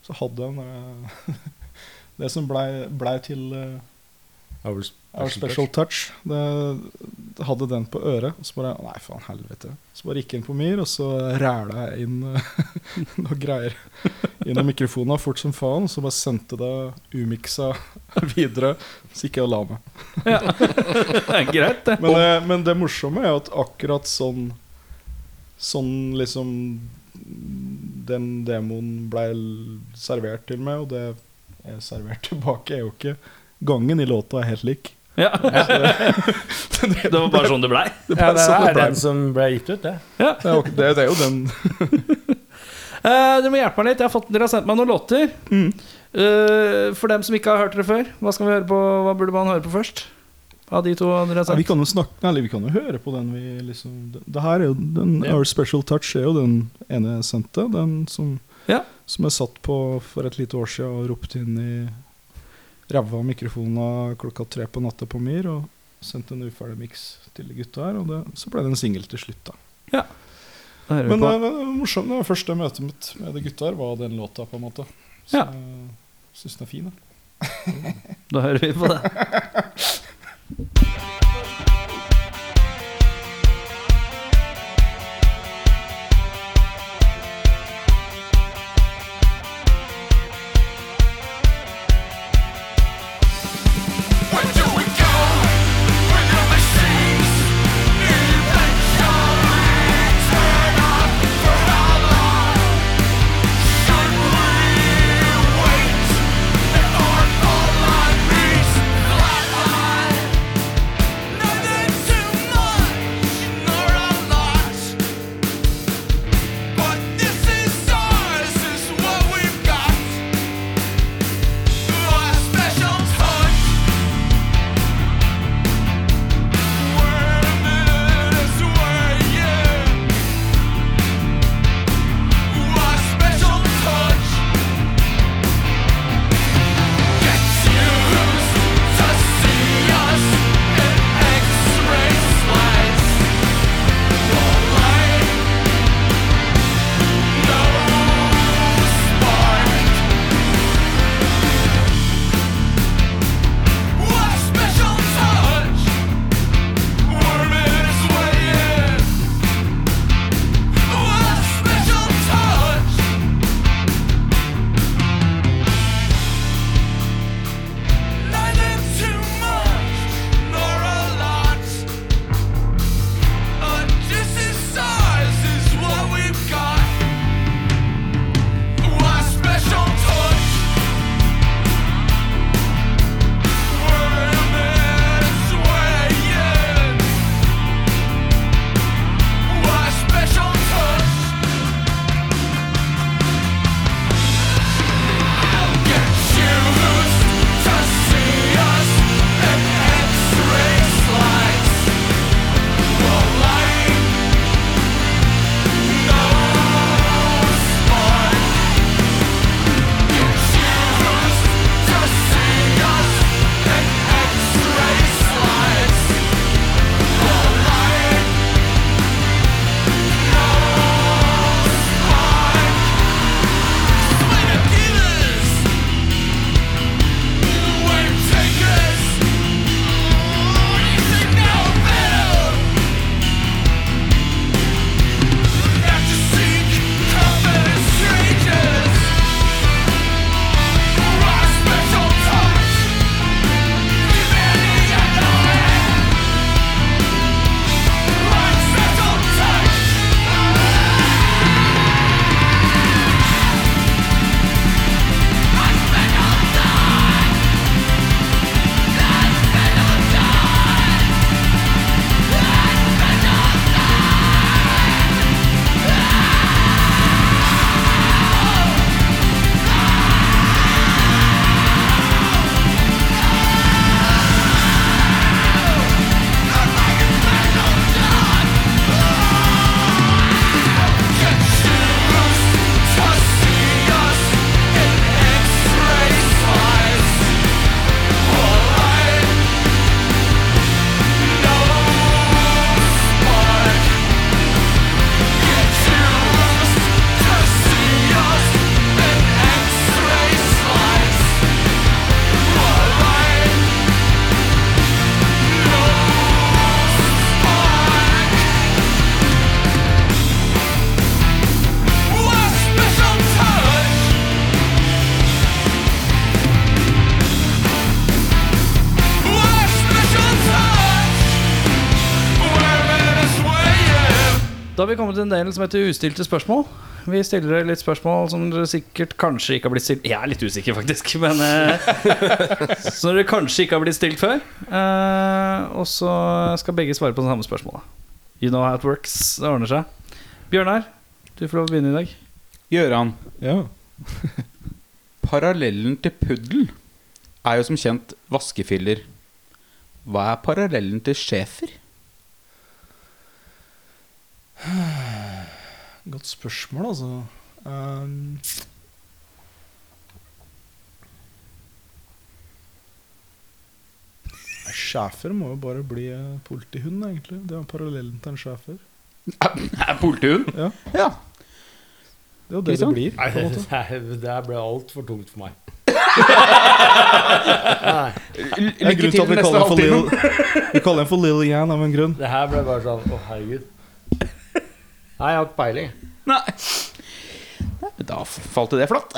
Så hadde jeg den der, det som blei ble til eh, Our Special Touch. Det, det hadde den på øret. Og så bare Nei, faen helvete. Så bare gikk jeg inn på Mir, og så ræla jeg inn eh, noe greier gjennom mikrofonen fort som faen. Og så bare sendte det umiksa videre, så gikk jeg og la meg.
Det er greit, det.
Men, eh, men det morsomme er jo at akkurat sånn Sånn liksom Den demoen ble l- servert til meg, og det er servert tilbake, er jo ikke Gangen i låta er helt lik.
Ja. Det var bare sånn det blei.
Ja, det
sånn
er
det ble.
den som ble gitt ut, det.
Det er jo, ikke- det, det er jo den
Eh, dere må hjelpe meg litt. Jeg har fått, dere har sendt meg noen låter. Eh, for dem som ikke har hørt dere før, hva skal vi høre på Hva burde man høre på først? Av de to dere har
ja, Vi
sendt?
kan jo snakke Eller vi kan jo høre på den vi liksom Det, det her er jo den, Our Special Touch er jo den ene jeg sendte. Den som,
Ja.
som jeg satt på for et lite år siden og ropte inn i ræva av mikrofonen klokka tre på natta på Myr. Og sendte en uferdig miks til de gutta her, og det, så ble det en singel til slutt, da.
Da hører vi
Men eh,
på.
det, det var morsomt. Det var første møtet mitt med de gutta her, var den låta, på en måte. Så
Ja.
jeg syns den er fin, da.
Da hører vi på det.
Flat
Da har vi kommet til en del som heter ustilte spørsmål. Vi stiller dere litt spørsmål som dere sikkert kanskje ikke har blitt stilt Jeg er litt usikker, faktisk, men eh, Som dere kanskje ikke har blitt stilt før. Eh, og så skal begge svare på det samme spørsmålet. You know how it works. Det ordner seg. Bjørnar, du får lov å begynne i dag.
Gjøran,
Ja.
parallellen til puddel er jo som kjent vaskefiller. Hva er parallellen til schæfer?
Godt spørsmål, altså. Ehm, Nei, Schæfer må jo bare bli eh, politihund, egentlig. Det er parallellen til en schæfer.
Er Politihund?
Ja.
Ja.
Det er jo det
Kristian?
det blir.
Nei,
på en måte.
det her- det her ble altfor tungt for meg.
Det er
Lykke
grunnen til
til
at vi
neste
kaller den for
halvtime.
Lil Vi kaller den for Lil Jan av en grunn.
Det her ble bare sånn Å, herregud. Nei, jeg har ikke peiling.
Nei. Da falt det flatt.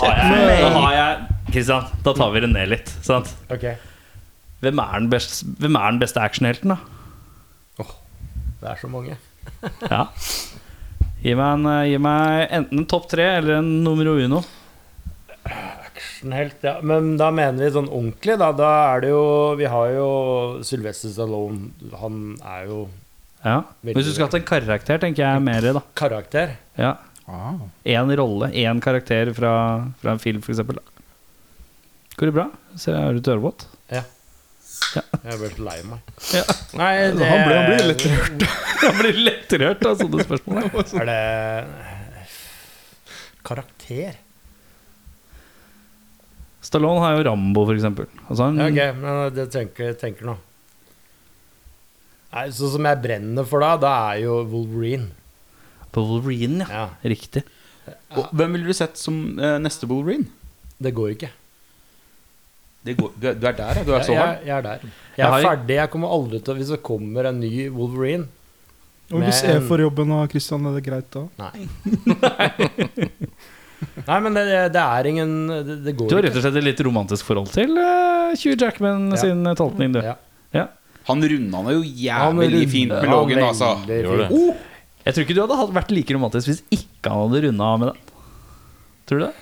Da har jeg Kristian, da tar vi det ned litt. Sant?
Ok,
Hvem er den beste, hvem er den beste actionhelten, da?
Det er så mange.
Ja. Gi meg, en, eh, gi meg enten en topp tre eller en numero uno.
Actionhelt, Sånn ja. Men da mener vi sånn ordentlig, da. Da er det jo Vi har jo Sylvester Stallone. Han er jo
Ja. Hvis du skulle hatt en karakter, tenker jeg mer i, da.
karakter.
Ja.
Ah.
Én rolle, én karakter fra, fra en film, f.eks. Går det bra? Ser jeg har du et ørevått?
Jeg ble så lei meg.
Ja.
Nei, det,
Han ble- han ble litt
rørt.
Jeg blir lettrørt av sånne spørsmål. her.
Er det Karakter?
Stallone har jo Rambo, f.eks. Altså, han-
Ja, ok, men det tenker, tenker nå. Nei, Sånn som jeg brenner for da, da er jo Wolverine.
På Wolverine, ja.
Ja,
Riktig.
Og Hvem ville du sett som eh, neste Wolverine?
Det går ikke.
Det går, du, er, du er der, ja. Du er
Jeg,
så
jeg,
hard.
jeg er der. Jeg
Jeg har-
er ferdig. Jeg kommer aldri til å Hvis det kommer en ny Wolverine
Og hvis
Men-
jeg får jobben av Christian, er det greit da?
Nei. Nei, men det, det er ingen Det, det går
Du har rett og slett et litt romantisk forhold til eh, Hugh Jackman
Ja.
sin eh, tolkning, du.
Ja.
Ja.
Han runda det jo
Han
jævlig
runder-
fint med
han
Logan, altså.
veldig
Gjør
fint. Oh!
det.
Jeg tror ikke du hadde hatt- vært like romantisk hvis ikke han hadde runda av med den. Tror du det?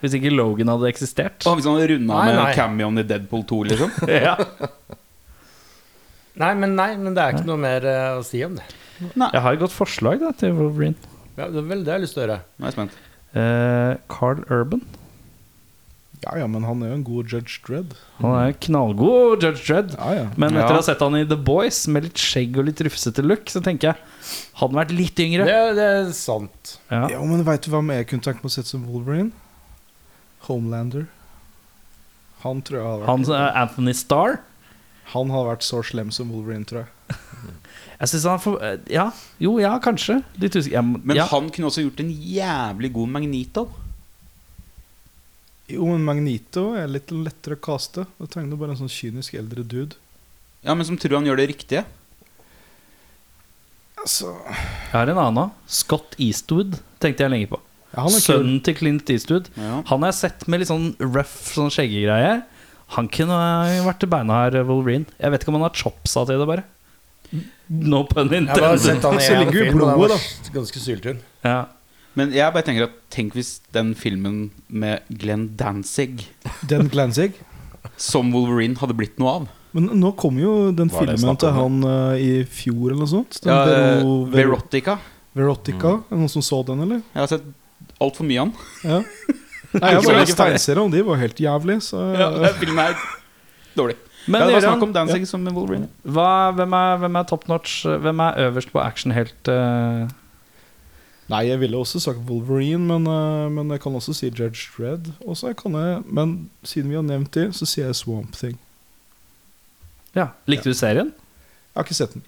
Hvis ikke Logan hadde eksistert.
Og hvis han hadde runda
Nei,
med
nei.
cameoen i Deadpool 2, liksom.
Ja.
Nei, men nei, men det er ikke noe mer eh, å si om det.
Jeg har et godt forslag da, til Wolverine.
Ja, det er vel det jeg har lyst til å gjøre.
Nå er jeg spent.
Eh, Carl Urban.
Ja ja, men han er jo en god judge Dredd.
Han er knallgod Judge Dredd.
Ja ja.
Men etter
Ja.
å ha sett han i The Boys med litt skjegg og litt rufsete look, så tenker jeg hadde han vært litt yngre.
Det, det er sant.
Ja.
Jo, men veit du hvem jeg kunne tenkt meg å sette som Wolverine? Homelander. Han tror jeg hadde vært
Han eh, Anthony Starr.
Han har vært så slem som Wolverine, tror jeg.
Jeg synes han får eh, Ja, jo, ja, kanskje. Litt usikker. Jeg, må-
Men
ja.
han kunne også gjort en jævlig god Magnito.
Jo, men Magnito er litt lettere å kaste. Da trenger du bare en sånn kynisk eldre dude.
Ja, men som tror han gjør det riktige.
Altså ja,
Jeg har en annen òg. Scott Eastwood tenkte jeg lenge på.
han er kul.
Sønnen til Clint Eastwood.
Ja.
Han har jeg sett med litt sånn røff sånn skjeggegreie. Han kunne ha vært beinhard Wolverine. Jeg vet ikke om han har chopsa til det, bare. No pun
Jeg har bare
intended.
sett han i
Så
en
ligger jo
film, og den
blodet,
var s- ganske syltynn.
Ja.
Men jeg bare tenker at tenk hvis den filmen med Glenn Danzig
Den Glanzig.
som Wolverine hadde blitt noe av.
Men nå kom jo den
Hva er det jeg
filmen
snakker
til han
om
eh, i fjor eller noe sånt. Den
Ja, eh,
Vero- Ver-
Verotica.
Verotica. Er det noen som så den, eller?
Jeg har sett altfor mye av den.
Ja. Nei, jeg
så
bare
mye.
ikke tegneserier, og de var helt jævlig, så eh,
Den Filmen er dårlig.
Men
ja, det var
Jørgen,
snakk om Danzig som Wolverine.
hva, hvem, er, hvem er top notch? Hvem er øverst på actionhelt? eh?
Nei, jeg ville også sagt Wolverine, men, eh, men jeg kan også si Judge Dredd. Og så kan jeg, men siden vi har nevnt de, så sier jeg Swamp Thing.
ja. Likte du serien?
Jeg har ikke sett den.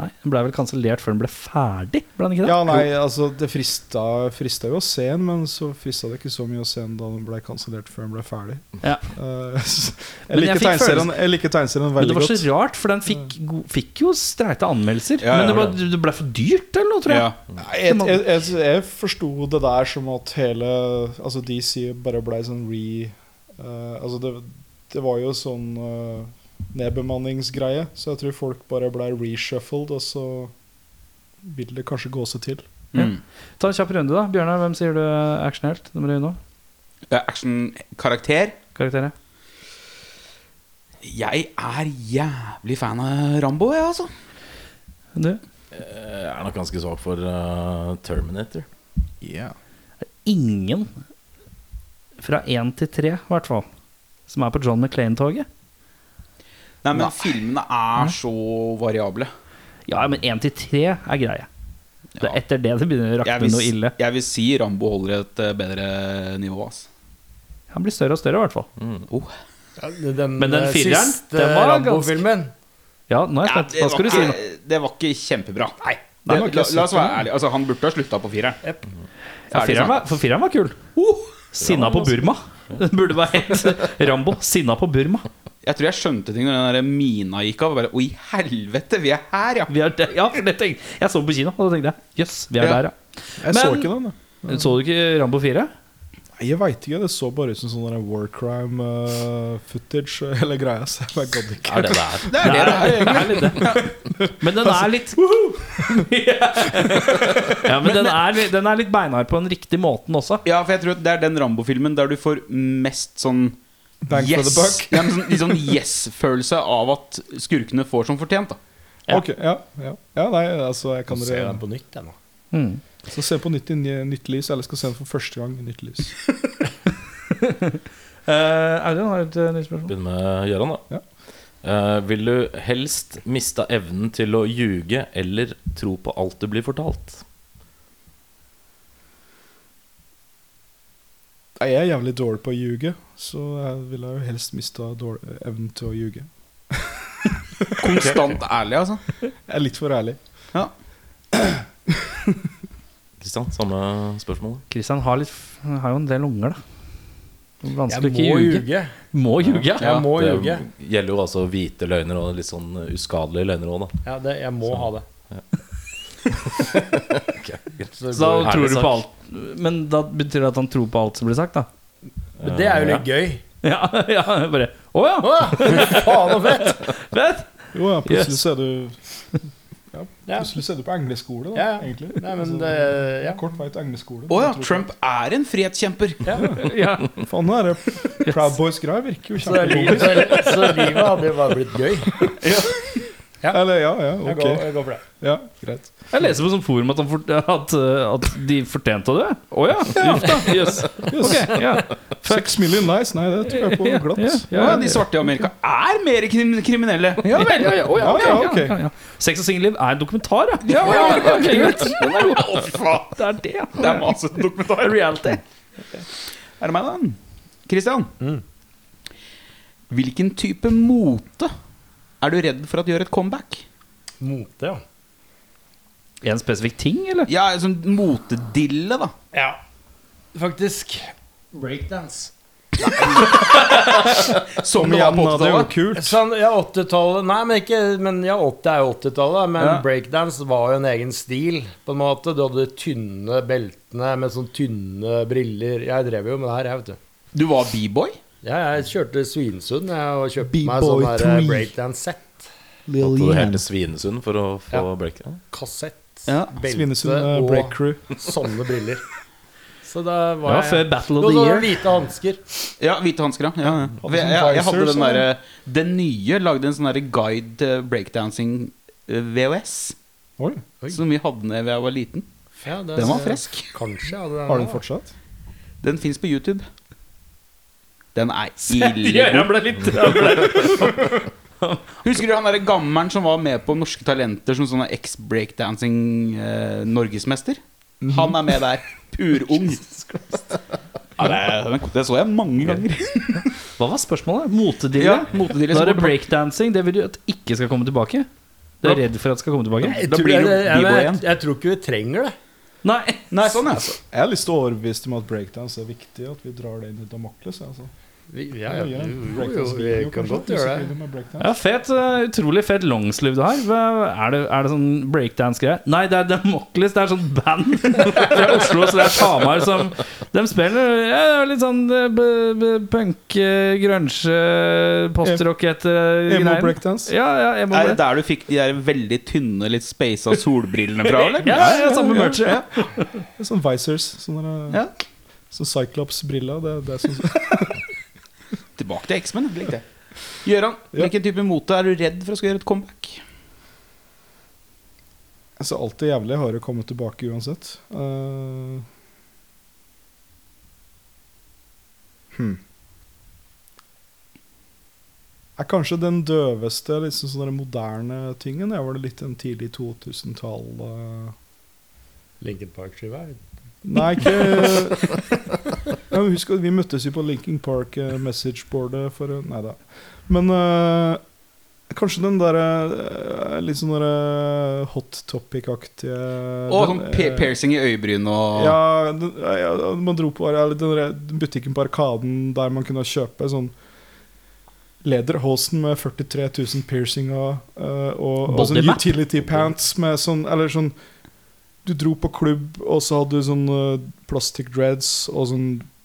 Nei, Den ble vel kansellert før den ble ferdig? Ble den ikke det?
Ja, nei, altså Det frista, frista jo å se den, men så frista det ikke så mye å se den da den ble kansellert før den ble ferdig.
Ja.
Eh, så- jeg,
Men jeg
liker
fikk
tegneserien, jeg liker tegneserien
Men det
veldig
var så
godt.
rart, for den fikk, go- fikk jo streite anmeldelser.
Mm. Ja, ja,
men det, var, det ble for dyrt, eller noe, tror jeg.
Ja.
Nei, Jeg, jeg, jeg, jeg forsto det der som at hele Altså DC bare blei sånn re eh, Altså det, det var jo sånn eh, nedbemanningsgreie, så jeg tror folk bare blei reshuffled, og så vil det kanskje gå seg til.
Mm.
Ta en kjapp runde, da. Bjørnar, hvem sier du er actionhelt? Det må du gjøre nå.
Ja, Actionkarakter.
Karakterer.
Jeg er jævlig fan av Rambo, jeg, altså.
Du?
Jeg er nok ganske svak for eh, Terminator.
Ingen fra én til tre, i hvert fall, som er på John McClain-toget.
Nei, men filmene er så variable.
Ja, men én til tre er greie. Det
Ja.
er etter det det begynner å
Jeg
rakne
vil,
noe ille.
jeg vil si Rambo holder et eh, bedre nivå, altså. ass.
Han blir større og større, i hvert fall.
Men den fireren, den var Rambo-filmen
Ja, nå er
Ja,
jeg spent.
det, var
Hva skal du si nå?
ikke, det var ikke kjempebra. Nei,
Nei,
det, la, la oss være ærlige. Altså, han burde ha slutta på fireren.
Ja,
Ferdig Uh!
fireren
snakk.
var, for fireren var kul. Sinna på Burma. Det burde være helt Rambo. Sinna på Burma.
Jeg tror jeg skjønte ting når den der mina gikk av. og Bare, Å, i helvete, vi er her, ja!
Vi er der, ja, for det tenkte, jeg så den på kino, og da tenkte jeg jøss, vi er
Ja.
der, ja.
Jeg så
Men-
ikke den. Jeg,
Så du ikke Rambo 4?
Nei, jeg veit ikke. Det så bare ut som sånn der war crime eh, footage eller greia. Så jeg bare gadd ikke.
Er det det er?
Det er det det er.
Det er litt det. Men den er litt Ja, men den er, litt- den er litt beinhard på den riktige måten også.
Ja, for jeg tror at det er den Rambo-filmen der du får mest sånn
Bang for the buck.
Ja, men sånn, litt sånn yes-følelse av at skurkene får som fortjent. da
Ja.
Ok, ja, ja. ja, nei, altså jeg kan
Ser jeg
dere
den på nytt, jeg nå.
Mm.
Så se på nytt i ny- nytt lys, eller skal se den for første gang i nytt lys.
Eh, Audun har et eh, nytt spørsmål.
Begynne med Gøran, da.
Ja.
Eh, vil du helst miste evnen til å ljuge eller tro på alt du blir fortalt?
Nei, Jeg er jævlig dårlig på å ljuge, så jeg ville jo helst mista dårlig- evnen til å ljuge.
Konstant ærlig, altså.
Jeg er litt for ærlig.
Kristian, samme spørsmål.
Christian har, litt, f- han har jo en del unger, da.
Jeg
Vanskelig å
må
ikke ljuge.
ljuge.
Må ljuge, ja.
Jeg må
det
ljuge.
gjelder jo altså hvite løgner og litt sånn uskadelige løgner òg, da.
Ja, det, jeg må ha det. Så det
Så
går-
da tror
Ærlig
du
sak.
på alt Men da betyr det at han tror på alt som blir sagt, da?
Men det er jo litt gøy.
Ja, ja bare Å ja!
Å, faen og fett!
Vet!
Jo, ja, plutselig
Yes.
så er du ja,
Ja.
Plutselig så er du på engleskole, da,
Ja, ja.
egentlig.
Nei, men
Altså,
det ja.
Kort vei til
Å
engleskole.
ja,
Jeg tror
Trump er en frihetskjemper.
Ja.
ikke- Faen, nå er det Proud Boys-greia virker jo
Så, det er
kjempebra.
livet, så, så livet hadde jo bare blitt gøy.
Eller ja, ja,
Jeg går,
ok.
jeg går for det.
Ja, greit.
Jeg leser på sånn forum at, han fort, at, uh, at de fortjente det. Å ja! Uff da. Jøss.
Yes.
Ok, ja.
Seks million nice, nei, det tror jeg på glatt.
Å ja, de svarte i Amerika er mer krim kriminelle.
Ja vel, ja, ja, å, ja,
Ja,
ja,
ja,
ja,
ok.
ja, ja. Sex og singelliv er en dokumentar, ja.
Ja, ja, ja,
Ok, greit. Den er god.
Å, faen.
Det er det, ja.
Det er masete dokumentar.
Reality.
Er det meg, da? Christian. Hvilken type mote er du redd for at gjør et comeback?
Mote, ja.
En spesifikk ting, eller?
Ja, sånn motedille, da.
Ja, faktisk. Breakdance.
Som jeg
Igjen,
på
da, det er jo
80-tallet.
kult.
Sånn, ja, 80-tallet Nei, men ikke Men ja, 80, det er jo 80-tallet. Men
Ja.
breakdance var jo en egen stil, på en måte. Du hadde de tynne beltene med sånn tynne briller. Jeg drev jo med det her, jeg, vet du.
Du var B-boy?
Ja, jeg kjørte Svinesund jeg, og kjøpte meg
B-boy
sånn her eh,
three.
breakdance-sett.
Måtte du hele Svinesund for å få
Ja.
break? Ja.
Kassett,
Ja.
belte
Svinesund eh, break
og
crew.
sånne briller. Så da var
Ja,
jeg
før Battle
Det
of
var
the
sånne
Year.
hvite hansker.
Ja, hvite hansker, ja. ja, ja. Jeg, jeg, jeg hadde den derre Den nye lagde en sånn derre guide til breakdancing eh, VHS.
Oi,
Som vi hadde da jeg var liten.
Ja, det-
Den var frisk.
Kanskje. Ja, det,
har den fortsatt?
Den fins på YouTube. Den er ille
Gjøran
god.
ble litt han ble-
Husker du han derre gammelen som var med på Norske Talenter som sånn eks-breakdancing-norgesmester?
Mhm.
Han er med der. Purung. Ja, det, den- det så jeg mange ganger.
Hva var spørsmålet? Motedille?
Ja, motedille
Da
som går
er det
tilbake.
breakdancing. Det vil du at ikke skal komme tilbake? Du er redd for at det skal komme tilbake?
jeg,
Da
tror,
blir
jeg,
det jo
jeg, jeg,
b-boy
jeg,
igjen.
tror ikke vi trenger det.
Nei.
Nei, sånn, ja.
Jeg har lyst til å overbevise dem at breakdance er viktig, at vi drar det inn i Damokles. Altså.
Vi, ja,
Ja,
ja,
ja,
jo, jo, vi
breakdance-video,
kan
kanskje,
godt gjøre det.
musikkvideo med breakdance.
Ja, fet, uh, utrolig fet longsliv du har. Hva- Er det, er det sånn breakdance-greie? Nei, det er Demoklis. Det er sånn band fra Oslo så det er Tamar som De spiller ja, det er litt sånn eh, b- b- punk, eh, grunge, eh, postrock etter
Emo
greier.
breakdance.
Ja, ja, emo
Er det der
break.
du fikk de der veldig tynne, litt speisa solbrillene fra? eller?
Ja, ja, samme merch. Ja.
Det er Sånn visors. Sånne,
Ja.
Så Cyclops-briller. Det, det er sånn
Tilbake til X-Men. jeg likte det. Gøran,
Ja.
hvilken type mote er du redd for å skal gjøre et comeback?
Altså, alt det jævlige har jo kommet tilbake uansett. Eh, hmm. Er kanskje den døveste, liksom sånne moderne tingen. Jeg var det litt den tidlig 2000-tall eh.
Linkin Park-skiva. er-
Nei, ikke ja, men Husk at vi møttes jo på Linkin Park eh, messageboardet for eh, Nei da. Men eh, kanskje den derre eh, litt sånn derre hot topic-aktige
Og
den,
sånn pe-
eh,
piercing i øyebryn og
ja, den- ja, man dro på eller den der butikken på Arkaden der man kunne kjøpe sånn Lederhosen med 43 000 piercinger eh, og, og sånn
Bodymap?
utility pants med sånn Eller sånn Du dro på klubb, og så hadde du sånn eh, plastic dreads og sånn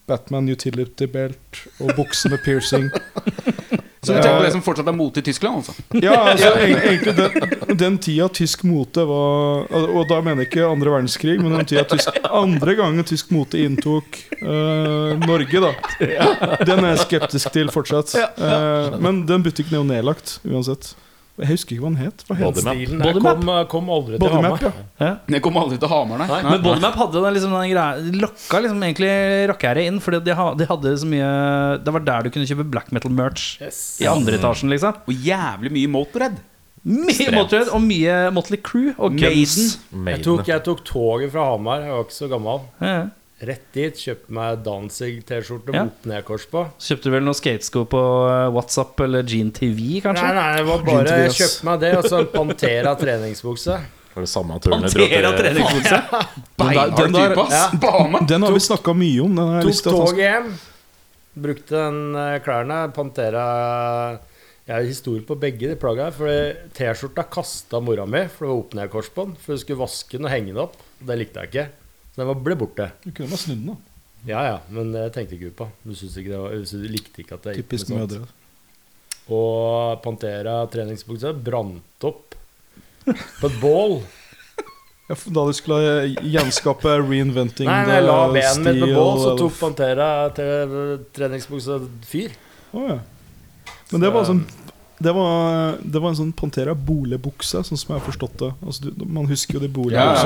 Batman utility belt og bukse med piercing.
Så du tenker på det som fortsatt er mote i Tyskland, altså?
Ja, altså egen- egentlig den, den tida tysk mote var Og og da mener jeg ikke andre verdenskrig, men den tida tysk, andre gangen tysk mote inntok eh, Norge, da. Den er jeg skeptisk til fortsatt. Eh, men den butikken er jo nedlagt uansett. Jeg husker ikke hva den het. Hva het den?
Stilen der kom, eh, kom aldri til
Bodymap,
Hamar.
ja.
Det kommer aldri til Hamar, nei.
Men Bodymap hadde den liksom den greia de Lokka liksom egentlig rockeherre inn, Fordi de, ha, de hadde så mye Det var der du kunne kjøpe black metal-merch. I andre etasjen, liksom.
Og jævlig mye Motorhead.
Mye Motorhead og mye Motley Crew og
Maiden.
Guns.
Jeg tok, jeg tok toget fra Hamar, jeg var ikke så gammel.
Ja, ja.
Rett dit, kjøpte meg Danzig-T-skjorte med
Ja.
opp-ned-kors på.
Så Kjøpte du vel noen skatesko på eh, WhatsApp eller Gene TV,
Nei,
kanskje?
nei, det var bare jeg kjøpte meg det, og så en Pantera treningsbukse.
Var det samme turen jeg dro
Pantera
til
treningsbukse.
Beinhard
den der-
type, ass.
ja.
Bahama.
Den har vi snakka mye om. Den har jeg
Tok
lyst til at han
toget hjem, brukte den eh, klærne, Pantera Jeg har historie på begge de plagga, for T-skjorta kasta mora mi, for det var opp-ned-kors på den, for hun skulle vaske den og henge den opp. Det likte jeg ikke. Så den var- ble borte.
skal Du kunne bare snudd den, da.
Ja ja, men det tenkte ikke hun på. Hun syntes ikke det var, hun syntes- likte ikke at jeg gikk
Typisk
med sånt.
mødre.
Og Pantera treningsbuksa brant opp på et bål.
Ja, for da du skulle eh, gjenskape reinventing eh,
Nei, nei, jeg la benen min på
stil,
bål, så
eller-
tok Pantera tre- treningsbuksa fyr.
Å, ja. Men det var, sånn, det, var, det var en sånn Pantera boligbukse, sånn som jeg har forstått det. Altså, du, man husker jo de boligbuksene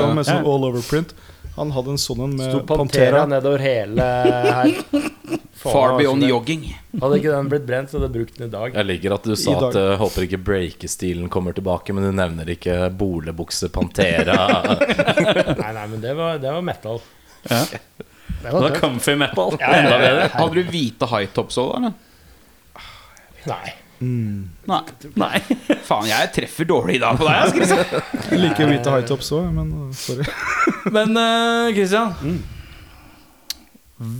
Ja, ja, ja.
med sånn all over print. Han hadde en sånn en med
Sto Eh, Pantera
Pantera.
nedover hele her. Faen,
Far
altså,
beyond
det-
jogging.
Hadde ikke den blitt brent, så hadde jeg brukt den i dag.
Jeg liker at du sa
I dag.
at uh, håper ikke breakestilen kommer tilbake, men du nevner ikke bolebukse, Pantera
Nei, nei, men det var, det var metal.
Ja.
Det var tøft.
comfy metal.
Eh, Hadde du hvite high tops òg, da? eller?
Nei.
Nei. Faen, jeg treffer dårlig i dag på deg. ass, Christian.
Jeg liker hvite high tops òg, men eh, sorry.
Men eh, Christian,
Mm.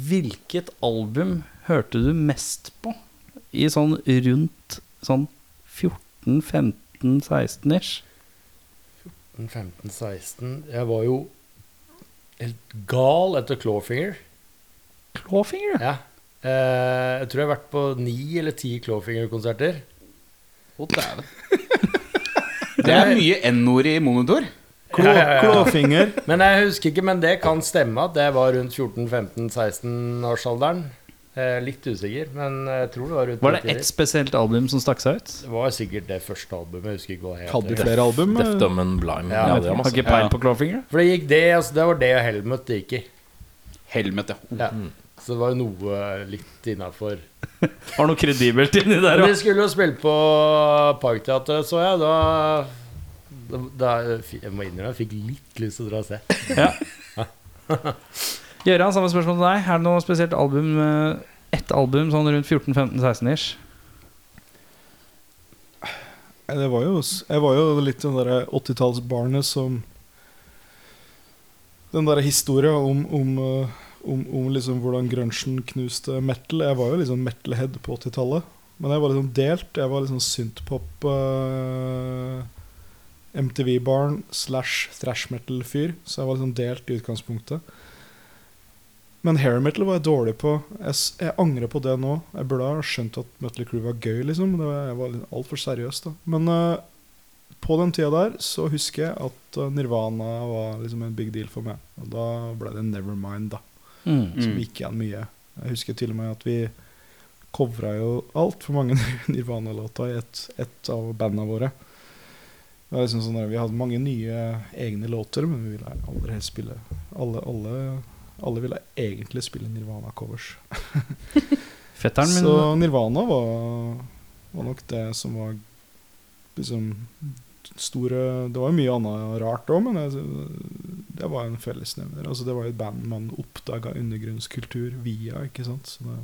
hvilket album hørte du mest på i sånn rundt sånn 14-15-16-ish?
15-16 Jeg var jo helt gal etter Clawfinger.
Clawfinger?
Ja. Eh, jeg tror jeg har vært på ni eller ti Clawfinger-konserter.
Det er mye N-ord i monitor.
Klå,
Ja, ja, ja.
Klåfinger.
Men jeg husker ikke, men det kan stemme at det var rundt 14-15-16-årsalderen. Eh, litt usikker, men jeg tror det var rundt
Var det
den
ett
tiden.
spesielt album som stakk seg ut?
Det var sikkert det første albumet. Jeg husker ikke hva det
Hadde
heter.
jo flere album. eh.
Death Dumb and Blime.
Ja,
Ja, det er
Har
masse.
ikke peil på Clawfinger?
For det gikk det, altså, det var det og Helmet det gikk i.
Helvete.
Ja. Så det var jo noe litt innafor.
Har noe kredibelt inni der
Vi
også.
skulle jo spille på Parkteatret, så jeg. Da, da Jeg må innrømme jeg fikk litt lyst til å dra og se.
Gøran, samme spørsmål til deg. Er det noe spesielt album eh, Ett album sånn rundt 14-15-16-ish?
Nei, Det var jo, s- jeg var jo litt den derre 80-tallsbarnet som Den derre historia om, om, eh, om, om liksom hvordan grunchen knuste metal. Jeg var jo liksom metalhead på 80-tallet. Men jeg var liksom delt. Jeg var liksom synthpop eh, MTV-barn slash thrash metal-fyr. Så jeg var liksom delt i utgangspunktet. Men hair metal var jeg dårlig på. Jeg, s- jeg angrer på det nå. Jeg burde ha skjønt at Mutley Crew var gøy, liksom. Det var, jeg var litt altfor seriøs, da. Men eh, på den tida der så husker jeg at eh, Nirvana var liksom en big deal for meg. Og da ble det Nevermind, da.
Mm.
Mm.
Som gikk igjen mye. Jeg husker til og med at vi covra jo altfor mange Nirvana-låter i et, et av bandene våre. Det var liksom sånn der, vi hadde mange nye egne låter, men vi ville aller helst spille alle, alle, alle ville egentlig spille Nirvana-covers.
Fetteren min
Så Nirvana var, var nok det som var liksom store Det var jo mye annet rart òg, men jeg, det var en fellesnevner. Altså, det var jo et band man oppdaga undergrunnskultur via, ikke sant. Så det,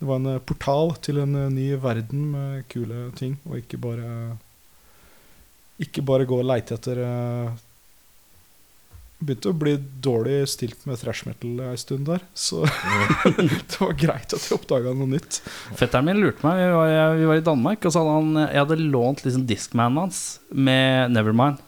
det var en eh, portal til en eh, ny verden med kule ting, og ikke bare Ikke bare gå og leite etter eh, Begynte å bli dårlig stilt med thrash metal ei stund der, så det var greit at jeg oppdaga noe nytt.
Fetteren min lurte meg. Vi var, jeg, vi var i Danmark, og så hadde han Jeg hadde lånt liksom Discmanen hans med Nevermind.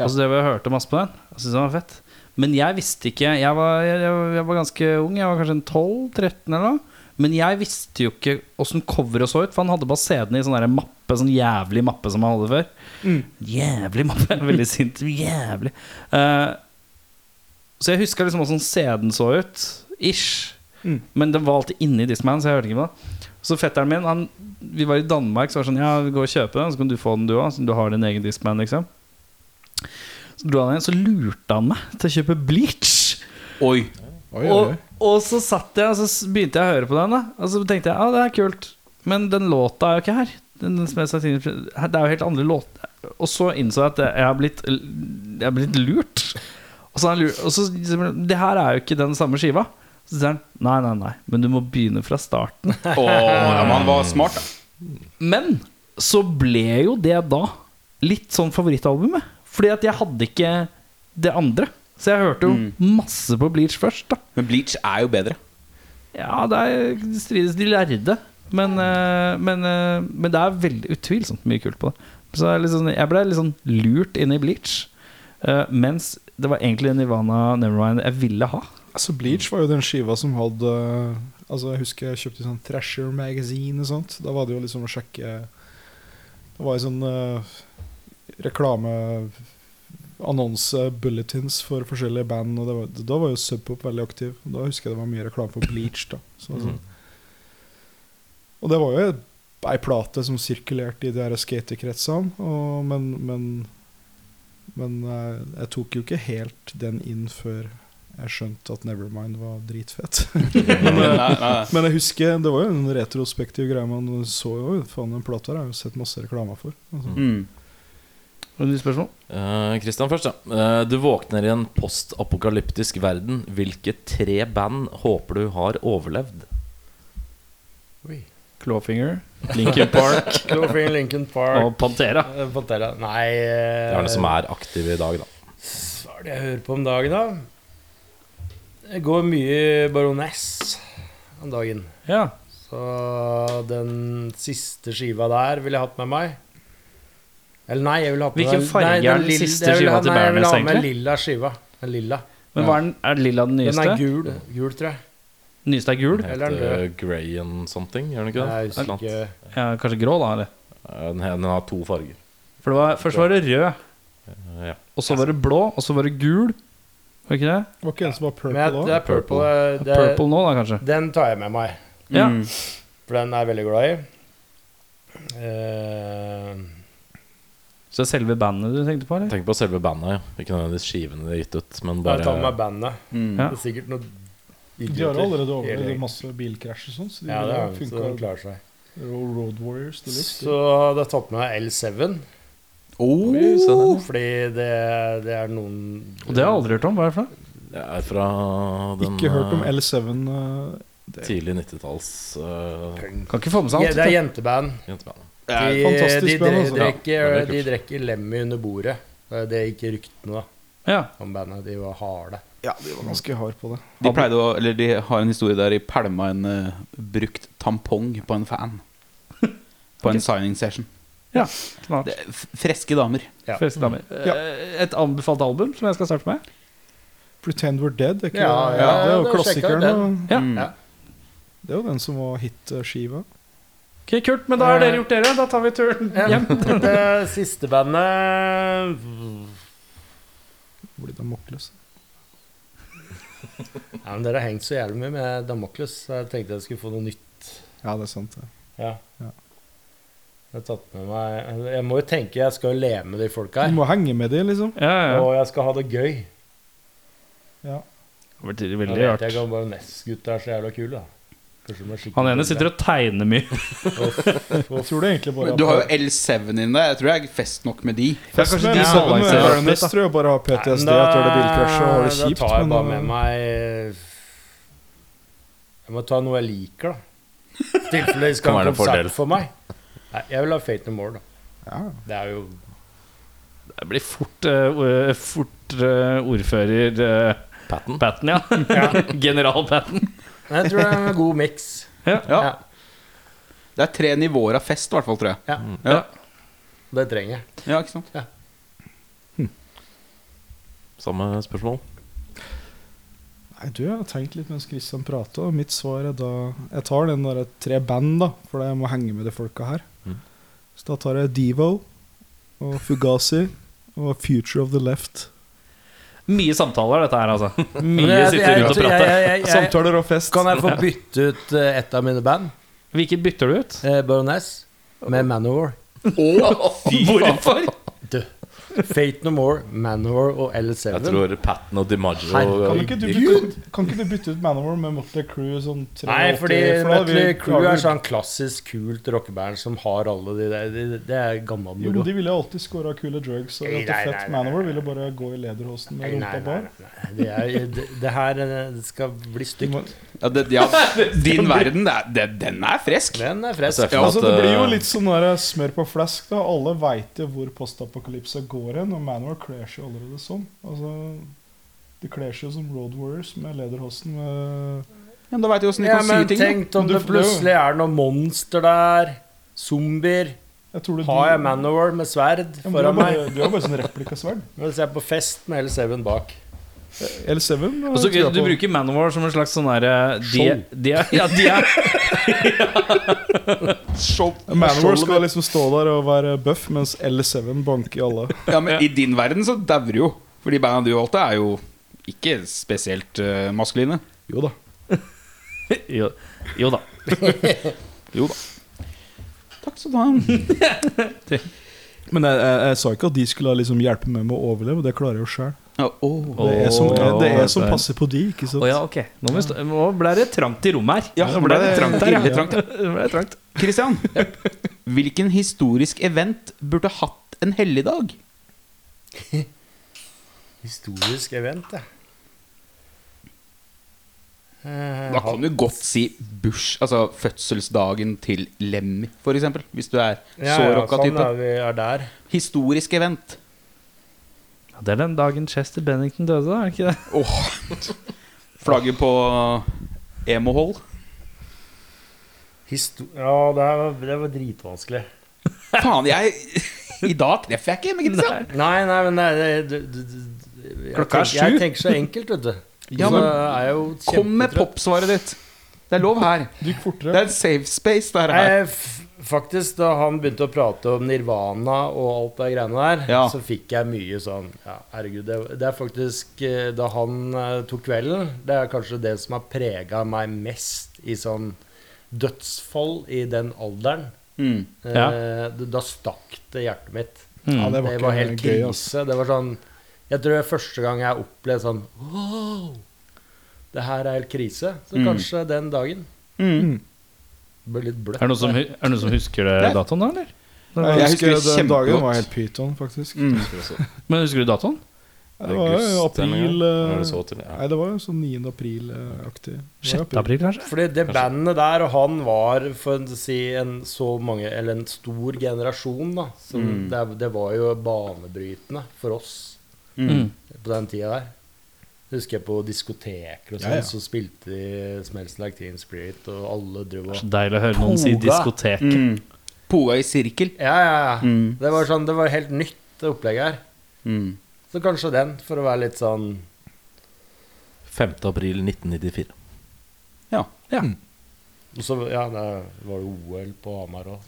Ja.
Og så det var jeg hørte masse på den. Jeg syntes den var fett. Men jeg visste ikke Jeg var, jeg, jeg- jeg var ganske ung. Jeg var kanskje en 12-13 eller noe. Men jeg visste jo ikke åssen coveret så ut, for han hadde bare CD-ene i sånn der mappe, sånn jævlig mappe som han hadde før.
Mm.
Jævlig mappe. Veldig sint. Jævlig. Eh, så jeg huska liksom åssen CD-en så ut. Ish.
Mm.
Men den var alltid inni Discman, så jeg hørte ikke på det. Så fetteren min han, Vi var i Danmark, så var det sånn Ja, gå og kjøpe den, så kan du få den du òg. Du har din egen Discman, liksom. Så dro han igjen, så lurte han meg til å kjøpe bleach.
Oi!
Oi, oi,
Og,
oi.
og så satt jeg, og så s- begynte jeg å høre på den, da. Og så tenkte jeg ja, det er kult. Men den låta er jo ikke her. Den, den som jeg satt inn, i- det er jo helt andre låter. Og så innså jeg at jeg har blitt, jeg har blitt lurt. Og så, er han lur- og så Det her er jo ikke den samme skiva. Så sier han nei, nei, nei, men du må begynne fra starten.
ja, man var smart, da.
Men så ble jo det da litt sånn favorittalbumet. Fordi at jeg hadde ikke det andre. Så jeg hørte jo
Mm.
masse på Bleach først, da.
Men Bleach er jo bedre.
Ja, det er det strides de lærde. Men, eh, men, eh, men det er veldig utvilsomt mye kult på det. Så jeg, er litt sånn- jeg ble litt sånn lurt inn i Bleach. eh, mens det var egentlig Nirvana Nevermind jeg ville ha.
Altså Bleach var jo den skiva som hadde Altså Jeg husker jeg kjøpte sånn Thrasher Magazine og sånt. Da var det jo liksom å sjekke Det var jo sånn eh, reklame Annonse-bulletins for forskjellige band. Og det var, da var jo Subpop veldig aktiv. Da husker jeg det var mye reklame for Bleach. da så, altså. Og det var jo ei plate som sirkulerte i de her skatekretsene, og- men, men, men eh, jeg tok jo ikke helt den inn før jeg skjønte at Nevermind var dritfett. Men jeg husker, det var jo en retrospektiv greie. Man så jo faen, den plata her har jeg jo sett masse reklame for. Altså.
Mm.
Og du spørsmål?
Eh, Christian først, ja. Eh, du våkner i en postapokalyptisk verden. Hvilke tre band håper du har overlevd?
Clawfinger, Linkin Park
Cloverfield, Lincoln Park
og Pantera.
eh, Pantera. Nei eh,
Det er det som er aktive i dag, da.
Hva er det jeg hører på om dagen, da? Jeg går mye Baroness om dagen.
Ja.
Så den siste skiva der ville jeg hatt med meg. Eller nei, jeg ville hatt med
Hvilken
meg-
farge
nei,
er den
lilla-
siste
jeg ville
skiva
ha-
til
nei, Jeg
Baroness,
ville ha med
egentlig?
lilla skiva. Den lilla.
Men hva er, den, er lilla den
Den er
nyeste?
gul, gul tror jeg.
nyeste er gul?
Den
Eller er den
heter Grey and something, gjør den ikke
Jeg
det? Et eller
husker ikke.
annet.
Ja, kanskje grå, da? eller?
Eh, Den, her- den har to farger.
For det var, Først var det rød,
Eh, ja.
og så var det blå, og så var det gul. Var det ikke det?
Det var ikke en som var
Men jeg, det
purple da?
er purple. eh, Det,
Purple nå, da, kanskje.
Den tar jeg med meg,
Ja.
Mm.
for den er jeg veldig glad i. Eh,
Så det er selve bandet du tenkte på, eller?
Tenk på selve bandet, ja. Ikke nødvendigvis skivene de har gitt ut, men
jeg tar med
bare
meg bandet.
Mm.
Ja.
Det er sikkert noen
De har jo allerede
Hele-
overlevd masse bilkrasj og sånn, så de
Ja, det
ville
er, så den
funka
klarer seg.
Road Warriors de likte.
Så hadde jeg tatt med meg L7.
oh,
Uh.
Fordi det, det er noen
Og det har jeg aldri hørt om. Hva er det for noe?
Det er fra den
Ikke hørt om
eh,
L7 eh,
tidlig 90-talls eh,
Kan ikke få med seg
Ja,
alt.
det er
vet
jenteband.
jentebandet.
De,
fantastisk
de,
band,
dre-
altså.
Ja,
drikker,
det er
de
kult.
drikker lemmy under bordet. Det er Det gikk i ryktene da
du. ja.
om bandet. De var harde.
Ja, de var ganske hard på det.
De, pleide å, eller de har en historie der de pælma en eh, brukt tampong på en fan. På en signing session.
ja. Knall.
Det, er f- freske damer.
Ja.
Friske damer. Eh, Et anbefalt album som jeg skal starte med.
'Pretend We're Dead'. Er ikke
Ja,
det?
ja,
det er jo
det sjekka
klassikeren.
den.
og-
Ja.
Mm.
Ja.
Det er jo den som var hitskiva.
Ok, Kult, men da har dere gjort dere. Da tar vi turen hjem.
Det siste bandet
Hvor de er maktløse.
ja, men Dere har hengt så jævlig mye med Damoklus, så jeg tenkte jeg skulle få noe nytt.
Ja, det er sant. det.
Ja.
Ja.
Jeg har tatt med meg Jeg må jo tenke jeg skal jo leve med de folka
Du
her.
må henge med de, liksom.
Ja, ja.
Og jeg skal ha det gøy.
Ja.
Det blir
Jeg
veldig
vet
rart.
jeg kan bare Ness-gutta er så jævla kule, da. Kanskje de er skikkelig
Han ene sitter og tegner mye.
Jeg tror det egentlig bare
Du har jo L7 inni deg. Jeg tror jeg er fest nok med de.
Ja, kanskje
Men
de
så-
balanserer
men
opp litt,
Ernest
da.
tror jeg bare har PTSD
Nei, men
etter det bilkrasjet og har det kjipt.
Da tar jeg
men,
bare
uh,
med meg eh, Jeg må ta noe jeg liker, da. I tilfelle de skal
Kan
ha
være
en
en fordel.
konsert for meg. Nei, jeg vil ha Fate No More, da.
Ja.
Det er jo
Det blir fort, eh, o- fort eh, ordfører eh,
Patten.
Patten, ja. General Patten.
Men Jeg tror det er en god miks.
Ja. Det er tre nivåer av fest, i hvert fall, tror jeg.
Ja.
Ja.
Det trenger jeg.
Ja, ikke sant?
Samme spørsmål.
Nei, du, jeg har tenkt litt mens Christian prata, og mitt svar er da Jeg tar den derre tre band, da, for jeg må henge med de folka her.
Mhm.
Så da tar jeg Devo og Fugazi og Future of the Left.
Mye samtaler, dette her, altså. Mye
jeg-
sitter
jeg-
rundt og
jeg-
prater.
jeg- jeg- jeg-
Samtaler og fest.
Kan jeg få bytte ut eh, et av mine band,
Hvilket bytter du ut?
eh, Baroness, med Manowar?
Hvorfor?
Fate No More, Manowar og
Jeg
L7.
tror Patten og
Herre,
DiMaggio
Kan ikke du bytte ut, kan ikke du bytte ut Manowar med Motley Crew sånn tre
Nei,
åtti,
fordi
for da vil-
Motley Crew
da
er
vil-
sånn klassisk kult rockeband som har alle de der. Det de, de er gammel
Jo, men
moro.
de ville alltid scora kule drugs. Og
Nei,
at det
nei, nei,
fett
nei,
Manowar
nei.
ville bare gå i lederhosen med
Nei, nei,
rumpa
nei,
bar.
nei, Det, er, det, det her eh, det skal bli
Du må-
stygt.
Ja, det, sånn ja. Din verden, det er, det, den er frisk.
Den er
Jeg ser
eh, fresk.
for meg
Altså,
at,
det blir jo
eh,
litt sånn der smør på flesk. da Alle veit jo hvor postapokalypsa går hen, og Manor kler seg jo allerede sånn. Altså, de kler seg jo som Road Warriors med lederhosen. Med
Ja, men da veit du åssen de
Ja,
kan
men
si ting.
tenk om
Men du
det
får-
plutselig er noe monster der. Zombier.
jeg tror det
Har jeg Manowar med sverd
Ja, men du har
foran meg?
bare, du har bare sånn replikasverd.
Mens jeg er på fest med L7 bak.
L7
Og så,
eh, tror jeg
du
på.
bruker Manowar som en slags sånn derre de,
Skjold.
de, er- ja, de er
Manowar skal liksom stå der og være buff, mens L7 banker alle.
Ja, men I din verden så dauer jo. For de banda du valgte, er jo ikke spesielt eh, maskuline.
Jo da.
Jo, jo da.
Jo da. Takk skal du ha.
Men jeg, jeg, jeg sa ikke at de skulle liksom hjelpe meg med å overleve. Det klarer jeg jo sjøl.
Ja, åh.
Det er som,
Åh,
det er som
dette er-
passer på de, ikke sant.
Å ja, ok. Nå, må vi stå, nå ble det trangt i rommet her.
Ja,
nå ble det trangt her.
ille trangt,
ja. Nå ble det trangt.
Christian, hvilken historisk event burde hatt en helligdag?
Historisk event, jeg. Eh,
Da kan du godt si burs, altså fødselsdagen til Lemmy, f.eks. Hvis du er
ja,
så
ja,
rocka
sånn
type.
er vi er der.
Historisk event.
Ja, det er den dagen Chester Bennington døde, da, er det ikke det?
Åh. Flagget på emohold.
Histo ja, det, her var, det var dritvanskelig.
Faen, jeg I dag treffer jeg ikke, men Christian.
Nei, nei, men nei, det- du- du- du- jeg
Klokka er
tenker- Jeg
sju.
tenker så enkelt, vet du.
Ja,
Så
men
er jeg jo
Kom med
kjempetrøtt.
popsvaret ditt. Det er lov her.
Det gikk
Det
fortere.
er en safe space, det her.
Nei, f- faktisk, da han begynte å prate om nirvana og alt det greiene der,
Ja.
så fikk jeg mye sånn ja, Herregud, det, det er faktisk eh, Da han eh, tok kvelden, det er kanskje det som har prega meg mest i sånn dødsfall i den alderen.
Mm.
Eh, da- Da stakk det hjertet mitt.
Ja,
Det
det
var,
var, ikke
helt
gøy,
krise.
ass.
Det var sånn Jeg tror det er første gang jeg opplevde sånn Wow! Det her er helt krise. Så
Mm.
kanskje den dagen
Mm.
ble litt bløtt.
Er det noen som, hu- er det noen som husker det
Det er-
datoen, da? eller?
Jeg
Jeg, husker,
husker
den dagen
kjempegodt.
var helt pyton, faktisk.
Mm.
Men husker du datoen?
Det var
August-stemningen.
jo april eh,
Var det så til, ja.
Nei, det var jo sånn 9. april-aktig.
6. april, kanskje?
Fordi det bandet der, og han var for å si en så mange Eller en stor generasjon, da. Så
Mm.
det, det var jo banebrytende for oss
Mm.
på den tida der. Husker jeg på diskoteker og sånn,
Ja, ja.
så spilte de 'Smells Like Teen Spirit', og alle dro
Det er
og
Så deilig å høre noen si
Poga.
diskotek.
Mm. Poa i sirkel.
Ja, ja, ja.
Mm.
Det var sånn, det var helt nytt, det opplegget her.
Mm.
Så kanskje den, for å være litt sånn
5. april 1994.
Ja.
Og så ja, det var det OL på Hamar òg.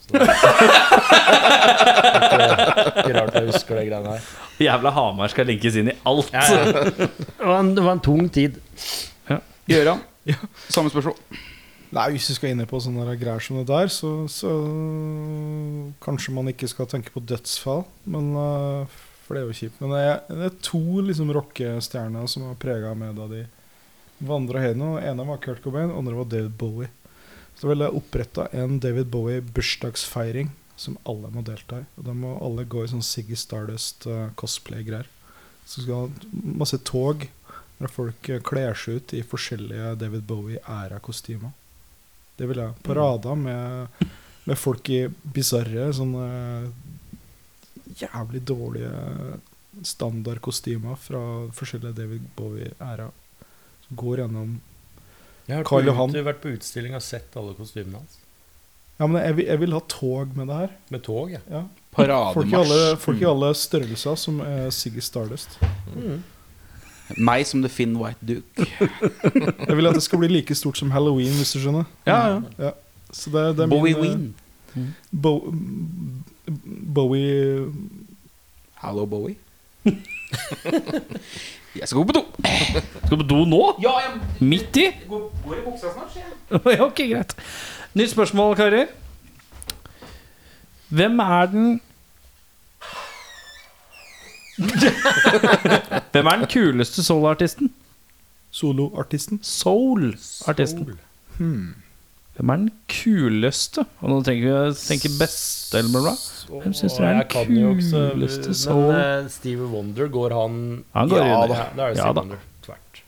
Ikke rart jeg husker de greiene her.
Jævla Hamar skal linkes inn i alt.
Det var, en, det var en tung tid.
Gøran, samme spørsmål.
Nei, hvis vi skal inn på sånne der greier som det der, så, så Kanskje man ikke skal tenke på dødsfall, men eh, for det er jo kjipt. Men det er, det er to liksom rockestjerner som har prega meg da de vandra hjem. Den ene var Kurt Cobain, den andre var David Bowie. Så ble det oppretta en David Bowie-bursdagsfeiring som alle må delta i. Og da må alle gå i sånn Siggy Stardust-cosplay-greier. Så skal ha masse tog der folk eh, kler seg ut i forskjellige David Bowie-æra-kostymer. Det vil jeg.
Mm.
Parader med, med folk i bisarre, sånne eh, jævlig dårlige eh, standardkostymer fra forskjellige David Bowie-æra. Som Går gjennom
Jeg har vært,
Karl
på,
Johan.
ut, vært på utstilling og sett alle kostymene hans.
Ja, men jeg vil, jeg vil ha tog med det her.
Med tog, ja.
Ja. Folk, i alle,
Parademarsj.
folk i alle størrelser som er Siggy Stardust.
Meg som The Finn White Duke.
Jeg vil at det skal bli like stort som Halloween, hvis du skjønner.
Ja, ja.
Så det, det er min,
Bowie
eh,
Ween.
Bo, Bowie
Hallo, Bowie. jeg skal gå på do.
Skal du på do nå?
Ja, jeg
Midt i?
går, i buksa snart, sier jeg.
Ja, ok, greit. Nytt spørsmål, karer. Hvem er den Hvem er den kuleste soul-artisten?
soloartisten.
Soul-artisten. Hvem er den kuleste? Og nå tenker vi tenker beste, eller noe bra. Hvem syns dere er
jeg kan jo
den
ikke så-
kuleste
Men
soul?
eh, Stevie Wonder, går han
Han går
Ja
inn i-
da, da er det
Ja
Stevie
da.
Wonder. Tvert.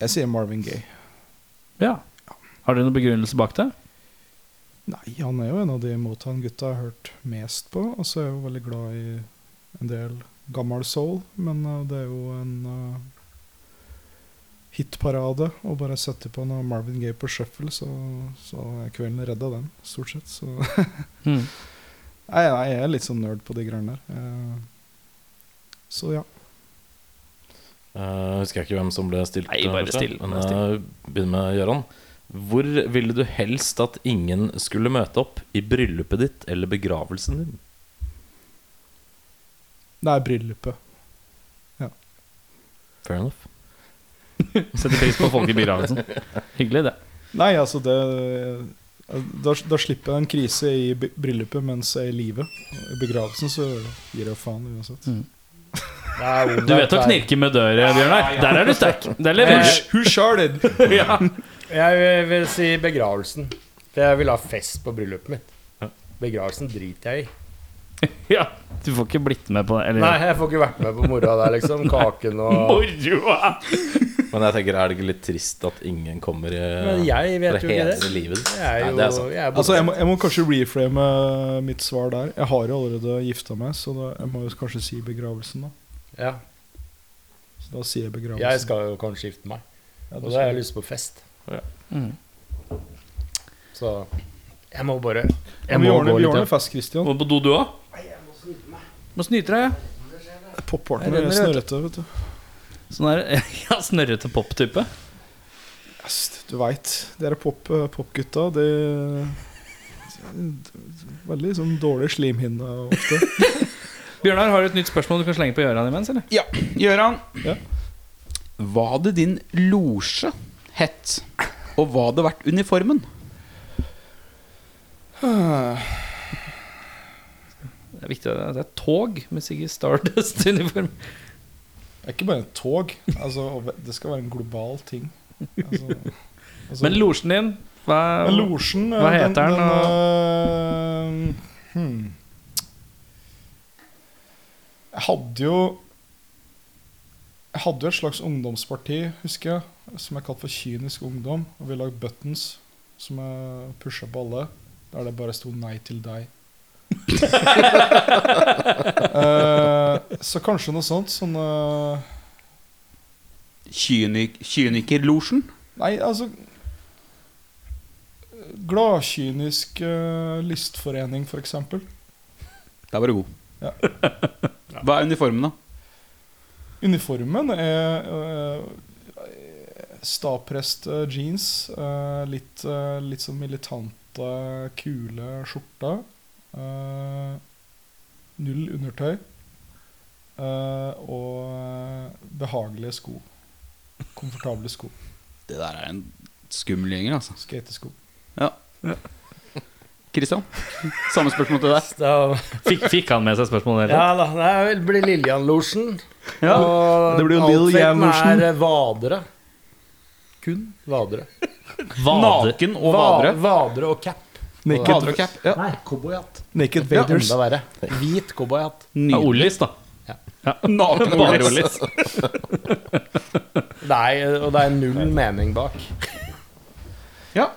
Jeg sier Marvin Gaye.
Ja. Har dere noen begrunnelse bak det?
Nei, han er jo en av de Motown-gutta jeg har hørt mest på. Og så er jeg jo veldig glad i en del gammel soul, men eh, det er jo en eh, hitparade å bare sette på noe Marvin Gaye på shuffle, så, så er kvelden redd av den, stort sett. Så nei,
Mm.
nei, jeg er litt sånn nerd på de greiene der. eh. så ja.
Eh, husker jeg ikke hvem som ble stilt.
Nei, bare
eh, først,
still,
Men
bare
eh, begynn med Gøran. Hvor ville du helst at ingen skulle møte opp i bryllupet ditt eller begravelsen din?
Det er bryllupet.
Fair enough.
Setter pris på folk i begravelsen. Hyggelig, det.
Nei, altså, det eh, da, da slipper jeg en krise i b- bryllupet mens jeg er i live. I begravelsen så gir jeg faen uansett.
Du vet å knirke med døra, Bjørnar. Der er du sterk. Der leverer
Who sharded?
du. Ja.
Jeg vil si begravelsen. For jeg vil ha fest på bryllupet mitt. Begravelsen driter jeg i.
Ja, du får ikke blitt med på det. Eller
Nei, jeg får ikke vært med på moroa der, liksom. Kaken og
Moroa!
Men jeg tenker, er det ikke litt trist at ingen kommer i
Men jeg
for
vet
å
jo ikke
hedre
det.
livet ditt?
Jeg er
Nei,
jo
det er sant.
jeg er
Altså, jeg
borte.
må, jeg må kanskje reframe mitt svar der. Jeg har jo allerede gifta meg, så da, jeg må jo kanskje si begravelsen, da.
ja,
Så da sier jeg begravelsen.
jeg skal jo kanskje gifte meg,
Ja,
og
du
da har jeg
skal-
lyst på fest.
Ja.
Mhm.
Så jeg må bare
Ja,
Jeg
men vi
må
ordner,
gå
vi
litt
ordner
av.
fest, Christian.
Må du på do, du òg? Må snyte deg, ja. Jeg
Popparten er
renner,
snørrete, vet du.
Sånn der, ja, Snørrete pop-type.
Yes, du veit. Dere pop, eh, popgutta, de Veldig sånn dårlig slimhinne ofte.
Bjørnar, har du et nytt spørsmål du kan slenge på Gøran imens? eller?
Gøran,
Ja.
hva hadde din losje hett, og hva hadde vært uniformen?
Det er viktig, det er tog med Siggy Stardust-uniform.
Det er ikke bare et tog. Altså, og det skal være en global ting. Altså, altså-
Men losjen din hva,
Men losjen
eh, Hva heter den,
den eh, hmm. Jeg hadde jo Jeg hadde jo et slags ungdomsparti, husker jeg, som jeg kalte for Kynisk ungdom. Og vi lagde buttons som jeg pusha på alle, der det bare sto 'Nei til deg'. Eh, så kanskje noe sånt. Sånn eh,
Kynik Kynikerlosjen?
Nei, altså Gladkynisk eh, lystforening, for eksempel.
Der var du god.
Ja.
Hva er uniformen, da?
Uniformen er eh, Staprest eh, jeans. eh, litt, eh, litt sånn militante, kule skjorta. eh, null undertøy. eh, og eh, behagelige sko. Komfortable sko.
Det der er en skummel gjenger, altså.
Skatesko.
Ja. Kristian, samme spørsmål til deg.
Da,
Fikk, fikk han med seg spørsmålet? eller?
ja da, det er vel- blir Lillian-losjen. og
det blir jo Lil
outfiten
Jan-losjen.
er eh, vadere. Kun vadere.
Vade-
Naken og
Va-
vadere.
vadere og cap.
Naked,
Vader og cap. Ja.
Nei, cowboyhatt.
naked
Ja, enda
Vaders.
verre. Hvit cowboyhatt.
Ja, Ollis, da.
Naken og
Bare
vadere.
Ollis.
Nei, og det er null mening bak.
Ja.